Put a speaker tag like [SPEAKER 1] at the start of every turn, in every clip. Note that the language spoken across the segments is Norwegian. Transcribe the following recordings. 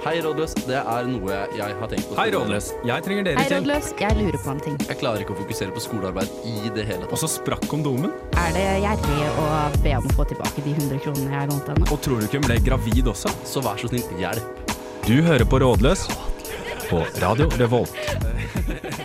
[SPEAKER 1] Hei, rådløs. Det er noe jeg har tenkt på.
[SPEAKER 2] Hei, Rådløs. Jeg trenger dere
[SPEAKER 3] Hei,
[SPEAKER 2] til.
[SPEAKER 3] rådløs. Jeg lurer på en ting.
[SPEAKER 1] Jeg klarer ikke å fokusere på skolearbeid i det hele
[SPEAKER 2] Og
[SPEAKER 1] tatt.
[SPEAKER 2] så sprakk kondomen.
[SPEAKER 3] Er det gjerrig å be om å få tilbake de 100 kronene jeg lånte henne?
[SPEAKER 2] Og tror du ikke hun ble gravid også?
[SPEAKER 1] Så vær så snill, hjelp.
[SPEAKER 2] Du hører på Rådløs på Radio Revolt.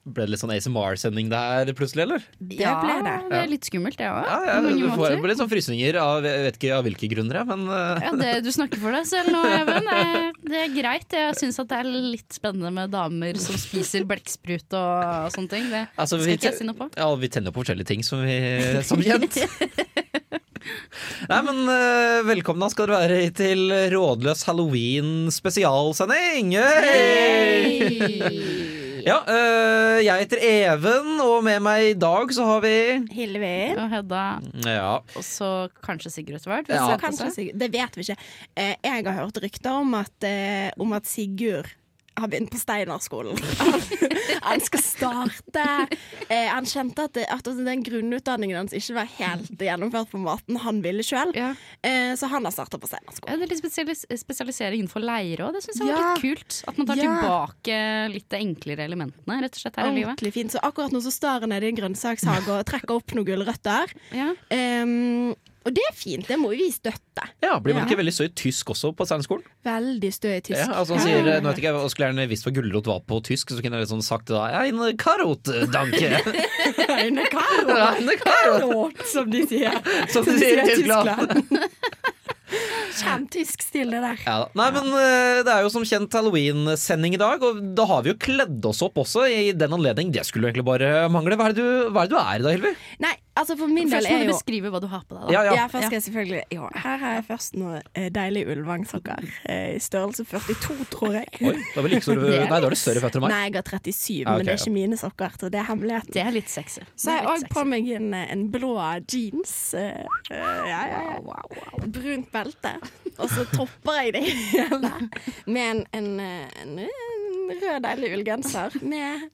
[SPEAKER 4] Ble det litt sånn ASMR-sending der plutselig, eller?
[SPEAKER 3] Ja, det ble det. Det er litt skummelt, det òg. på mange
[SPEAKER 4] du får
[SPEAKER 3] måter.
[SPEAKER 4] ble litt sånn frysninger av jeg vet ikke av hvilke grunner, jeg, men eh,
[SPEAKER 3] Ja, det, du snakker for deg selv nå, Even. Eh, Det er greit. Jeg syns at det er litt spennende med damer som spiser blekksprut og sånne ting. Det
[SPEAKER 4] altså,
[SPEAKER 3] skal ikke jeg si noe på.
[SPEAKER 4] Ja, vi tenner på forskjellige ting som, vi, som kjent. Nei, men eh, velkommen da skal dere være hit til Rådløs halloween spesialsending! Yay! Ja, eh, jeg heter Even, og med meg i dag så har vi
[SPEAKER 5] Hillevi.
[SPEAKER 3] Og Hedda,
[SPEAKER 4] Ja,
[SPEAKER 3] og så kanskje Sigurd etter hvert. hvis det
[SPEAKER 4] Ja.
[SPEAKER 5] Så
[SPEAKER 3] heter
[SPEAKER 5] kanskje
[SPEAKER 3] seg.
[SPEAKER 5] Sigurd Det vet vi ikke. Eh, jeg har hørt rykter om at, eh, om at Sigurd har begynt på Steinerskolen. han skal starte. Eh, han kjente at, det- at den grunnutdanningen hans ikke var helt gjennomført på måten han ville sjøl,
[SPEAKER 3] Ja.
[SPEAKER 5] eh, så han har starta på Steinerskolen.
[SPEAKER 3] Ja, det er litt spesialis spesialisering innenfor leire òg. Det syns jeg
[SPEAKER 5] Ja.
[SPEAKER 3] var litt kult. At man tar
[SPEAKER 5] Ja.
[SPEAKER 3] tilbake litt de enklere elementene rett og slett her i livet.
[SPEAKER 5] Ordentlig fint. Så akkurat nå så står han nede i en grønnsakshage og trekker opp noen gulrøtter.
[SPEAKER 3] Ja.
[SPEAKER 5] Ehm, og det er fint, det må jo vi støtte.
[SPEAKER 4] ja blir man
[SPEAKER 5] Ja.
[SPEAKER 4] ikke veldig støy tysk også på Steinerskolen?
[SPEAKER 5] Veldig stø i tysk.
[SPEAKER 4] Ja, altså han sier, nå vet ikke jeg, og Skulle gjerne visst hva gulrot var på tysk, så kunne jeg liksom sagt da Ein karotdanke!
[SPEAKER 5] Reine Karo.
[SPEAKER 4] Ein karot,
[SPEAKER 5] Låt, som de sier.
[SPEAKER 4] som de sier i Tyskland.
[SPEAKER 5] Kjent tysk stil, det der.
[SPEAKER 4] Ja, da. Nei, men eh, Det er jo som kjent halloween-sending i dag, og da har vi jo kledd oss opp også i den anledning. Det skulle jo egentlig bare mangle. Hva er det du, hva er, det du er i da, Hilvi?
[SPEAKER 5] Nei, altså for min del
[SPEAKER 3] Først må
[SPEAKER 5] er
[SPEAKER 3] du
[SPEAKER 5] jo
[SPEAKER 3] beskrive hva du har på deg. da.
[SPEAKER 4] Ja, ja.
[SPEAKER 5] ja, først skal jeg selvfølgelig jo, Her har jeg først noe eh, deilig ullvangsokker. eh, I størrelse 42, tror jeg.
[SPEAKER 4] Oi, da var like stor, nei, da er du større føtter enn meg.
[SPEAKER 5] Nei, jeg har 37,
[SPEAKER 4] Ja, ok,
[SPEAKER 5] men det er
[SPEAKER 4] ja.
[SPEAKER 5] ikke mine sokker. Så det er hemmeligheten.
[SPEAKER 3] Det er litt sexy.
[SPEAKER 5] Så har jeg òg på meg en, eh, en blå jeans. eh, eh, ja, ja, ja. Brunt belte. Og så topper jeg det hele med en, en, eh, en, en rød, deilig ullgenser med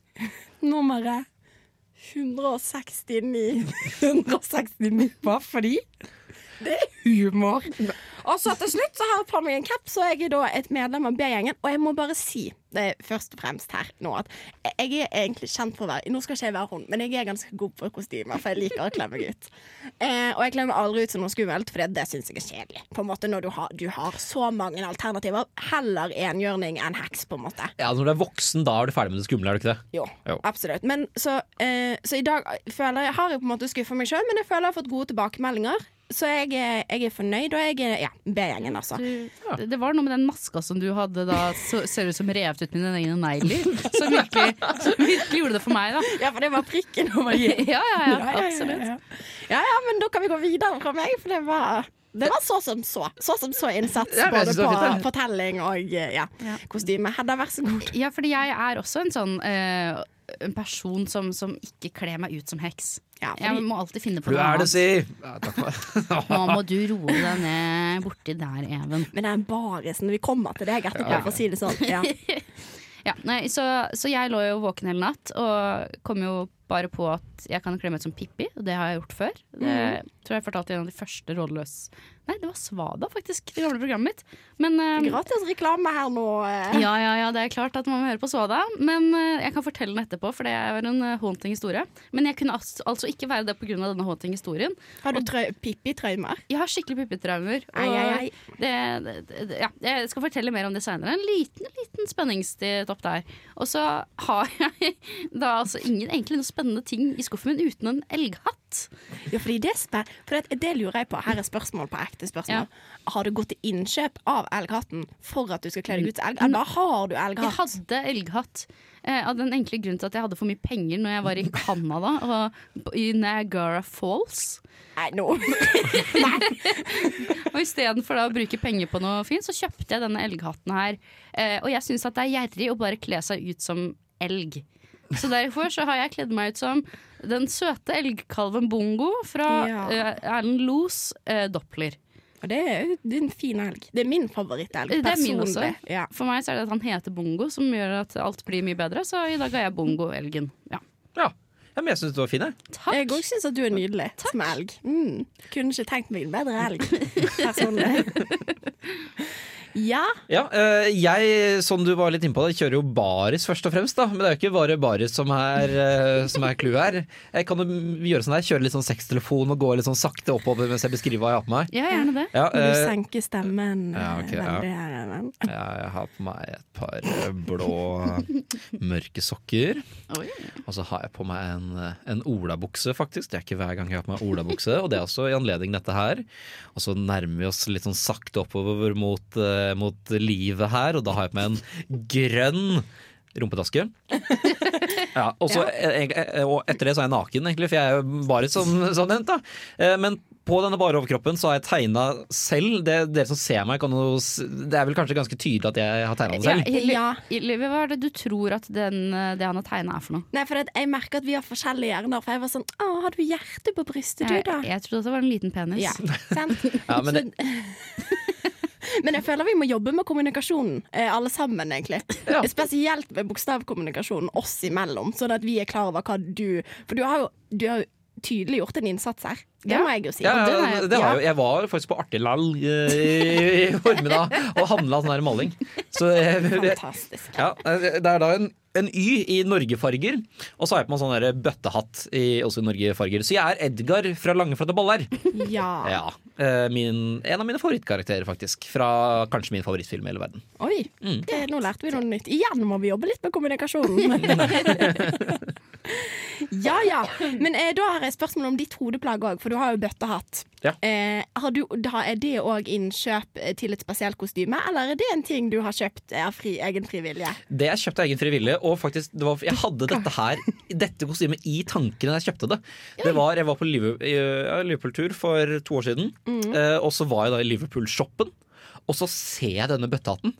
[SPEAKER 5] nummeret 169 169 bare fordi det er humor. Og så til slutt så har jeg på meg en caps, og jeg er da et medlem av B-gjengen. Og jeg må bare si det er først og fremst her nå at jeg er egentlig kjent for å være Nå skal ikke jeg være hun, men jeg er ganske god på kostymer, for jeg liker å kle meg ut. Eh, og jeg kler meg aldri ut som noe skummelt, for det, det syns jeg er kjedelig. På en måte Når du har, du har så mange alternativer. Heller enhjørning enn heks, på en måte.
[SPEAKER 4] Ja, altså, Når du er voksen, da er du ferdig med det skumle, er du ikke det?
[SPEAKER 5] Jo,
[SPEAKER 4] Jo.
[SPEAKER 5] absolutt. Men, så, eh, så i dag føler jeg, har jeg på en måte skuffa meg sjøl, men jeg føler jeg har fått gode tilbakemeldinger. Så jeg, er- jeg er fornøyd, og jeg er ja, B-gjengen, altså.
[SPEAKER 3] Du, det- Det var noe med den maska som du hadde da, så, ser ut som revet ut mine egne negler. Som virkelig, som virkelig gjorde det for meg, da.
[SPEAKER 5] Ja, for det var prikken over i.
[SPEAKER 3] Ja, ja, ja, absolutt.
[SPEAKER 5] Ja, ja, ja, men da kan vi gå videre fra meg, for det var det var så som så. Så som så innsats
[SPEAKER 4] Ja, men jeg
[SPEAKER 5] både
[SPEAKER 4] synes det
[SPEAKER 5] på
[SPEAKER 4] var fint, ja.
[SPEAKER 5] fortelling og eh, ja,
[SPEAKER 3] Ja.
[SPEAKER 5] kostyme. Hedda, vær så god.
[SPEAKER 3] Ja, fordi jeg er også en sånn eh, en person som, som ikke kler meg ut som heks.
[SPEAKER 5] Ja,
[SPEAKER 3] Jeg
[SPEAKER 5] fordi,
[SPEAKER 3] må alltid finne på
[SPEAKER 4] Du
[SPEAKER 3] noe
[SPEAKER 4] er det,
[SPEAKER 3] annet.
[SPEAKER 4] si! Ja, takk for meg.
[SPEAKER 3] Nå må du roe deg ned borti der, Even.
[SPEAKER 5] men den barisen Vi kommer til deg etterpå,
[SPEAKER 4] Ja.
[SPEAKER 5] for å si det sånn. Ja.
[SPEAKER 3] Ja, nei, så, så jeg lå jo våken hele natt og kom jo bare på at jeg kan kle meg ut som Pippi, og det har jeg gjort før. Det tror jeg fortalte i en av de første rådløs... Nei, det var Svada, faktisk, i det gamle programmet mitt. Men eh,
[SPEAKER 5] Gratis reklame her nå. eh.
[SPEAKER 3] ja, ja, ja, det er klart at man må høre på Svada. Men eh, jeg kan fortelle den etterpå, for det er en eh, haunting historie. Men jeg kunne als- altså ikke være det pga. denne haunting historien.
[SPEAKER 5] Har du trau- Pippi-traumer?
[SPEAKER 3] Jeg har skikkelig pippetraumer. og
[SPEAKER 5] Ai, ai, ai.
[SPEAKER 3] Det, det, det, ja, jeg skal fortelle mer om det seinere. En liten liten spenningstopp der. Og så har jeg da altså ingen egentlig noen spennende ting i skuffen min uten en elghatt.
[SPEAKER 5] Ja, fordi det, spe- for det, det lurer jeg på. Her er spørsmål på ekte spørsmål. Har du gått til innkjøp av elghatten for at du skal kle deg ut som elg? Eller har du
[SPEAKER 3] Mm. Jeg
[SPEAKER 5] elghatt?
[SPEAKER 3] hadde elghatt eh, av den enkle grunnen til at jeg hadde for mye penger når jeg var i Canada og på- i Niagara Falls.
[SPEAKER 5] Nei, nå
[SPEAKER 3] Og istedenfor da å bruke penger på noe fint, så kjøpte jeg denne elghatten her. Eh, og jeg syns at det er gjerrig å bare kle seg ut som elg. Så derfor så har jeg kledd meg ut som den søte elgkalven Bongo fra
[SPEAKER 5] Ja.
[SPEAKER 3] eh, Erlend Los eh, Doppler.
[SPEAKER 5] Og det er, jo- det er en fin elg. Det er min favoritthelg.
[SPEAKER 3] Det er min
[SPEAKER 5] personlig.
[SPEAKER 3] også.
[SPEAKER 5] Ja.
[SPEAKER 3] For meg så er det at han heter Bongo, som gjør at alt blir mye bedre. Så i dag er jeg Bongo-elgen. Ja.
[SPEAKER 4] Ja. ja men jeg syns du var fin, jeg.
[SPEAKER 3] Takk.
[SPEAKER 5] Jeg òg syns at du er nydelig som elg. Mm. Kunne ikke tenkt meg en bedre elg, personlig. ja.
[SPEAKER 4] Ja, eh, jeg, som du var litt innpå, da, kjører jo baris først og fremst, da. Men det er jo ikke bare baris som er, eh, som er clouet her. Jeg kan jo gjøre sånn der, kjøre litt sånn sextelefon og gå litt sånn sakte oppover mens jeg beskriver hva jeg har på meg.
[SPEAKER 3] Ja, gjerne det.
[SPEAKER 4] Ja,
[SPEAKER 5] Når du
[SPEAKER 4] eh,
[SPEAKER 5] senker stemmen
[SPEAKER 4] ja, ok,
[SPEAKER 5] eh,
[SPEAKER 4] ja.
[SPEAKER 5] veldig her, men.
[SPEAKER 4] ja, jeg har på meg et par eh, blå mørke sokker.
[SPEAKER 3] Oi.
[SPEAKER 4] Og så har jeg på meg en, eh, en olabukse, faktisk. Det er ikke hver gang jeg har på meg olabukse, og det er også i anledning dette her. Og så nærmer vi oss litt sånn sakte oppover mot, eh, mot livet her, og da har jeg på meg en grønn rumpetaske. Ja, og, så, eh, eh, og etter det så er jeg naken, egentlig, for jeg er jo bare som, som nevnt. da. Eh, Men på denne bare overkroppen så har jeg tegna selv. Det, dere som ser meg, kan jo s- Det er vel kanskje ganske tydelig at jeg har tegna den selv?
[SPEAKER 3] Ja, i-
[SPEAKER 5] Ja.
[SPEAKER 3] i- Livet, hva er det du tror at den, eh, det han har tegna er for noe?
[SPEAKER 5] Nei, for det, jeg merker at vi har forskjellige hjerner. For jeg var sånn Å, har du hjerte på brystet, du,
[SPEAKER 3] Jeg,
[SPEAKER 5] da?
[SPEAKER 3] jeg trodde det var en liten penis.
[SPEAKER 5] Ja, sant?
[SPEAKER 4] Ja, men det-
[SPEAKER 5] Så- men jeg føler vi må jobbe med kommunikasjonen, eh, alle sammen, egentlig. Spesielt med bokstavkommunikasjonen oss imellom, sånn at vi er klar over hva du For du har jo, du har jo tydelig gjort en innsats her. Det
[SPEAKER 3] Ja.
[SPEAKER 5] må jeg jo si.
[SPEAKER 4] Ja,
[SPEAKER 3] Og den
[SPEAKER 4] ja,
[SPEAKER 3] er-
[SPEAKER 4] det
[SPEAKER 3] ja.
[SPEAKER 4] har jo, jeg var faktisk på Artilal i, i formiddag og handla sånn her maling. Så jeg,
[SPEAKER 5] Fantastisk.
[SPEAKER 4] ja, eh, det er da en, en Y i Norgefarger, og så har jeg på meg sånn der bøttehatt i, også i Norgefarger. Så jeg er Edgar fra Langeflate Baller.
[SPEAKER 5] Ja.
[SPEAKER 4] Ja, eh, min, en av mine favorittkarakterer, faktisk. Fra kanskje min favorittfilm i hele verden.
[SPEAKER 5] Oi,
[SPEAKER 4] Mm.
[SPEAKER 5] det, nå lærte vi noe nytt. Igjen må vi jobbe litt med kommunikasjonen. ja ja. Men eh, da har jeg spørsmål om ditt hodeplagg òg, for du har jo bøttehatt.
[SPEAKER 4] Ja.
[SPEAKER 5] Eh, har du, da er det òg innkjøp eh, til et spesielt kostyme, eller er det en ting du har kjøpt eh, av fri, egen fri vilje?
[SPEAKER 4] Det jeg kjøpte av egen frivillige, og faktisk, det var, jeg hadde dette her Dette kostymet i tankene da jeg kjøpte det. det var, jeg var på Liver- ja, Liverpool-tur for to år siden, eh, og så var jeg da i Liverpool-shoppen. Og så ser jeg denne bøttehatten,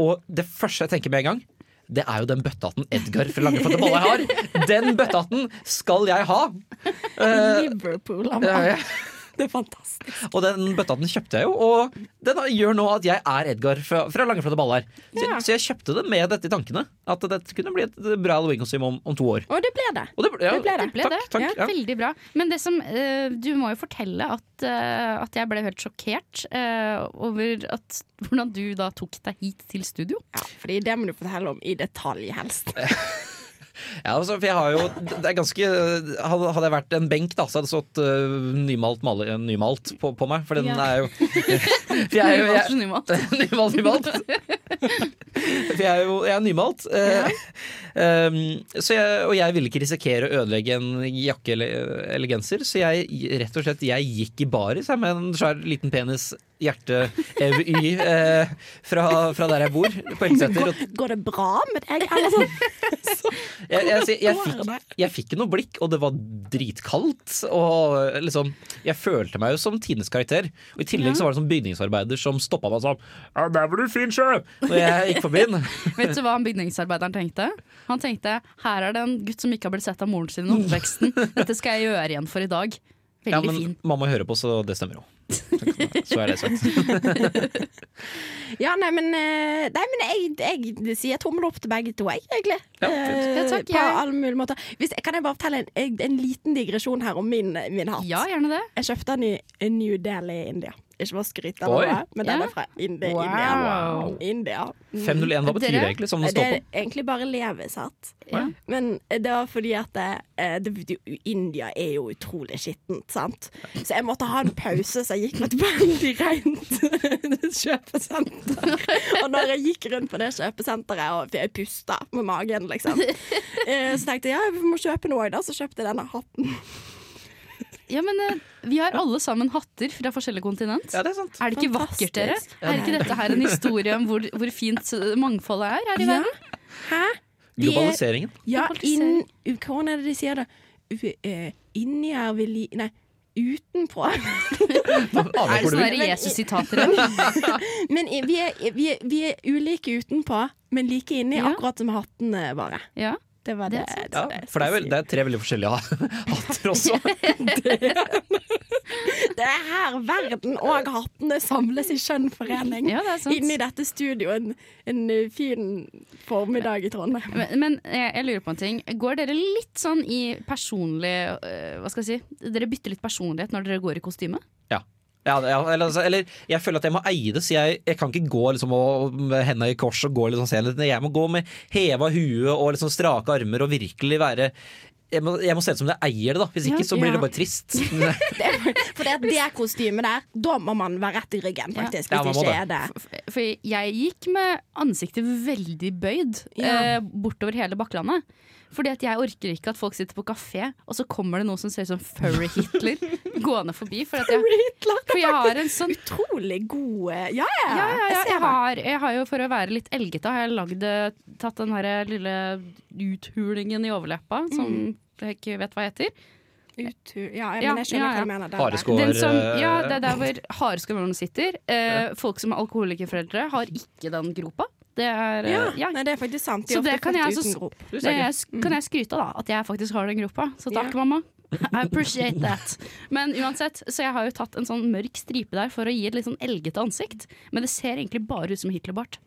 [SPEAKER 4] og det første jeg tenker med en gang det er jo den bøttehatten Edgar fra Langefatte Balle har! Den bøttehatten skal jeg ha! Eh,
[SPEAKER 5] Liverpool,
[SPEAKER 4] ja,
[SPEAKER 5] Amanda.
[SPEAKER 4] ja.
[SPEAKER 5] Det er fantastisk.
[SPEAKER 4] Og den bøttehatten kjøpte jeg jo, og den gjør nå at jeg er Edgar fra, fra Langeflate Baller. Så,
[SPEAKER 5] Ja.
[SPEAKER 4] så jeg kjøpte det med dette i tankene. At dette kunne bli et bra Halloween-kostyme om, om to år.
[SPEAKER 5] Og det ble det.
[SPEAKER 4] Og det, ble- ja,
[SPEAKER 5] Det ble det.
[SPEAKER 3] Ble
[SPEAKER 4] takk,
[SPEAKER 3] det?
[SPEAKER 4] Takk, ja.
[SPEAKER 3] Veldig bra. Men det som, eh, du må jo fortelle at, eh, at jeg ble helt sjokkert eh, over at, hvordan du da tok deg hit til studio.
[SPEAKER 5] Ja, fordi det må du fortelle om i detalj, helst.
[SPEAKER 4] Ja, altså, for jeg har jo, det er ganske, hadde hadde jeg vært en benk, da, så hadde det stått øh, nymalt, male, nymalt på, på meg. For den
[SPEAKER 3] Ja.
[SPEAKER 4] er jo for jeg, er jo- jeg,
[SPEAKER 3] Nymalt.
[SPEAKER 4] nymalt, nymalt. For jeg er jo jeg er nymalt. eh, ehm, så jeg, og jeg ville ikke risikere å ødelegge en jakke eller, eller genser, så jeg rett og slett jeg gikk i baris jeg, med en svær liten penis, hjerte, EVY, eh, fra, fra der jeg bor, på Elseter.
[SPEAKER 5] Går,
[SPEAKER 4] Og
[SPEAKER 5] går det bra med deg, eller sånn?
[SPEAKER 4] jeg, jeg, jeg, jeg,
[SPEAKER 5] Går
[SPEAKER 4] fikk,
[SPEAKER 5] det?
[SPEAKER 4] jeg fikk noe blikk, og det var dritkaldt. Og liksom, jeg følte meg jo som tidenes karakter. Og i tillegg så var det sånn bygningsarbeider som stoppa meg sånn Ja, der var du fin, sjø! Når jeg gikk forbi den.
[SPEAKER 3] Vet du hva han bygningsarbeideren tenkte? Han tenkte her er det en gutt som ikke har blitt sett av moren sin i oppveksten. Dette skal jeg gjøre igjen for i dag. Veldig
[SPEAKER 4] Ja, men
[SPEAKER 3] fin.
[SPEAKER 4] mamma hører på, så det stemmer jo. Så er det sagt.
[SPEAKER 5] Ja, nei, men, eh, nei, men jeg, jeg sier tommel opp til begge to, jeg, egentlig.
[SPEAKER 4] Ja,
[SPEAKER 5] Eh,
[SPEAKER 3] Ja, takk,
[SPEAKER 5] på
[SPEAKER 3] jeg.
[SPEAKER 5] alle mulige måter. Hvis, kan jeg bare fortelle en, en- en liten digresjon her om min, min hatt?
[SPEAKER 3] Ja, gjerne det.
[SPEAKER 5] Jeg kjøpte den i- i New Delhi i India. Ikke for å skryte av
[SPEAKER 4] Oi.
[SPEAKER 5] noe, men den
[SPEAKER 3] Ja.
[SPEAKER 5] er fra Indi,
[SPEAKER 3] Wow.
[SPEAKER 5] India. India.
[SPEAKER 4] 501, hva betyr det egentlig? Som det
[SPEAKER 5] Eh, Det
[SPEAKER 4] står
[SPEAKER 5] er
[SPEAKER 4] på?
[SPEAKER 5] egentlig bare levesatt.
[SPEAKER 3] Ja.
[SPEAKER 5] Men det var fordi at eh, det, India er jo utrolig skittent, sant. Så jeg måtte ha en pause, så jeg gikk på et veldig rent kjøpesenter. Og når jeg gikk rundt på det kjøpesenteret og jeg pusta med magen, liksom, eh, så tenkte jeg ja, vi må kjøpe noe, da. Så kjøpte jeg denne hatten.
[SPEAKER 3] Ja, men eh, vi har alle sammen hatter fra forskjellige kontinent.
[SPEAKER 4] Ja, det er sant.
[SPEAKER 3] Er det ikke vakkert,
[SPEAKER 5] Fantastisk.
[SPEAKER 3] dere? Er ikke dette her en historie om hvor, hvor fint eh, mangfoldet er her i verden?
[SPEAKER 5] Hæ? De er-
[SPEAKER 4] Globaliseringen.
[SPEAKER 5] Ja,
[SPEAKER 3] Globalisering.
[SPEAKER 5] inn u- Hvordan er det de sier det? U- eh, Inni er vi li... Nei, utenpå.
[SPEAKER 4] Aner
[SPEAKER 3] Er
[SPEAKER 4] jeg
[SPEAKER 3] det
[SPEAKER 4] hvor du
[SPEAKER 3] sånne
[SPEAKER 4] vil.
[SPEAKER 3] der Jesus-sitater? igjen?
[SPEAKER 5] Men i- vi er, vi, er, vi er ulike utenpå, men like inni,
[SPEAKER 3] Ja.
[SPEAKER 5] akkurat som hattene våre.
[SPEAKER 3] Ja.
[SPEAKER 5] Det var det.
[SPEAKER 3] Det er sant.
[SPEAKER 5] det var
[SPEAKER 4] Ja,
[SPEAKER 5] jeg
[SPEAKER 4] for det
[SPEAKER 5] skulle
[SPEAKER 4] er, vel,
[SPEAKER 5] si.
[SPEAKER 4] det er tre veldig forskjellige hatter også.
[SPEAKER 5] Det er her verden og hattene samles i skjønnforening.
[SPEAKER 3] Ja, det er sant.
[SPEAKER 5] Inni dette studioet en, en eh, fin formiddag i Trondheim.
[SPEAKER 3] Men, men eh, jeg, jeg lurer på en ting. Går dere litt sånn i personlig øh, Hva skal jeg si? Dere bytter litt personlighet når dere går i kostyme?
[SPEAKER 4] Ja. Ja, ja, eller, altså, eller jeg føler at jeg må eie det, så jeg, jeg kan ikke gå liksom, og, med henda i kors og gå litt sånn senere. Nei, Jeg må gå med heva hue og liksom, strake armer og virkelig være jeg må, jeg må se ut som jeg eier det, da. Hvis
[SPEAKER 3] Ja,
[SPEAKER 4] ikke så blir
[SPEAKER 5] ja.
[SPEAKER 4] det bare trist.
[SPEAKER 5] For det, det kostymet der, da må man være rett i ryggen, faktisk.
[SPEAKER 4] Ja. Ja, man
[SPEAKER 5] hvis
[SPEAKER 4] må
[SPEAKER 5] ikke er det.
[SPEAKER 3] For, for jeg gikk med ansiktet veldig bøyd
[SPEAKER 5] Ja.
[SPEAKER 3] eh, bortover hele Bakklandet. Fordi at jeg orker ikke at folk sitter på kafé, og så kommer det noen som ser ut som Furry Hitler gående forbi. For, at jeg,
[SPEAKER 5] Hitler,
[SPEAKER 3] for jeg har en sånn
[SPEAKER 5] Utrolig god eh, Ja,
[SPEAKER 3] ja,
[SPEAKER 5] ja.
[SPEAKER 3] ja, ja,
[SPEAKER 5] jeg ser
[SPEAKER 3] jeg,
[SPEAKER 5] det.
[SPEAKER 3] har, jeg har jo for å være litt elgete Har jeg lagd, eh, tatt den her lille uthulingen i overleppa Som
[SPEAKER 5] Mm.
[SPEAKER 3] jeg ikke vet hva heter
[SPEAKER 5] Utu- ja, ja,
[SPEAKER 3] Ja,
[SPEAKER 5] men jeg skjønner
[SPEAKER 3] ja, ja.
[SPEAKER 5] hva du mener. der.
[SPEAKER 4] Hareskår.
[SPEAKER 3] Den som, ja,
[SPEAKER 4] eh,
[SPEAKER 3] det er der hvor hareskålene sitter. Eh, folk som er alkoholikerforeldre, har ikke den gropa. Det er, eh,
[SPEAKER 5] Ja,
[SPEAKER 3] ja.
[SPEAKER 5] Nei, det er faktisk sant.
[SPEAKER 3] Så
[SPEAKER 5] De er ofte
[SPEAKER 3] det kan
[SPEAKER 5] født
[SPEAKER 3] jeg altså
[SPEAKER 5] uten
[SPEAKER 3] s-
[SPEAKER 5] grop.
[SPEAKER 3] Det er, kan jeg skryte av, da, at jeg faktisk har den gropa. Så takk,
[SPEAKER 5] Ja.
[SPEAKER 3] mamma. I appreciate that. Men uansett, så jeg har jo tatt en sånn mørk stripe der for å gi et litt sånn elgete ansikt. Men det ser egentlig bare ut som Hitlerbart.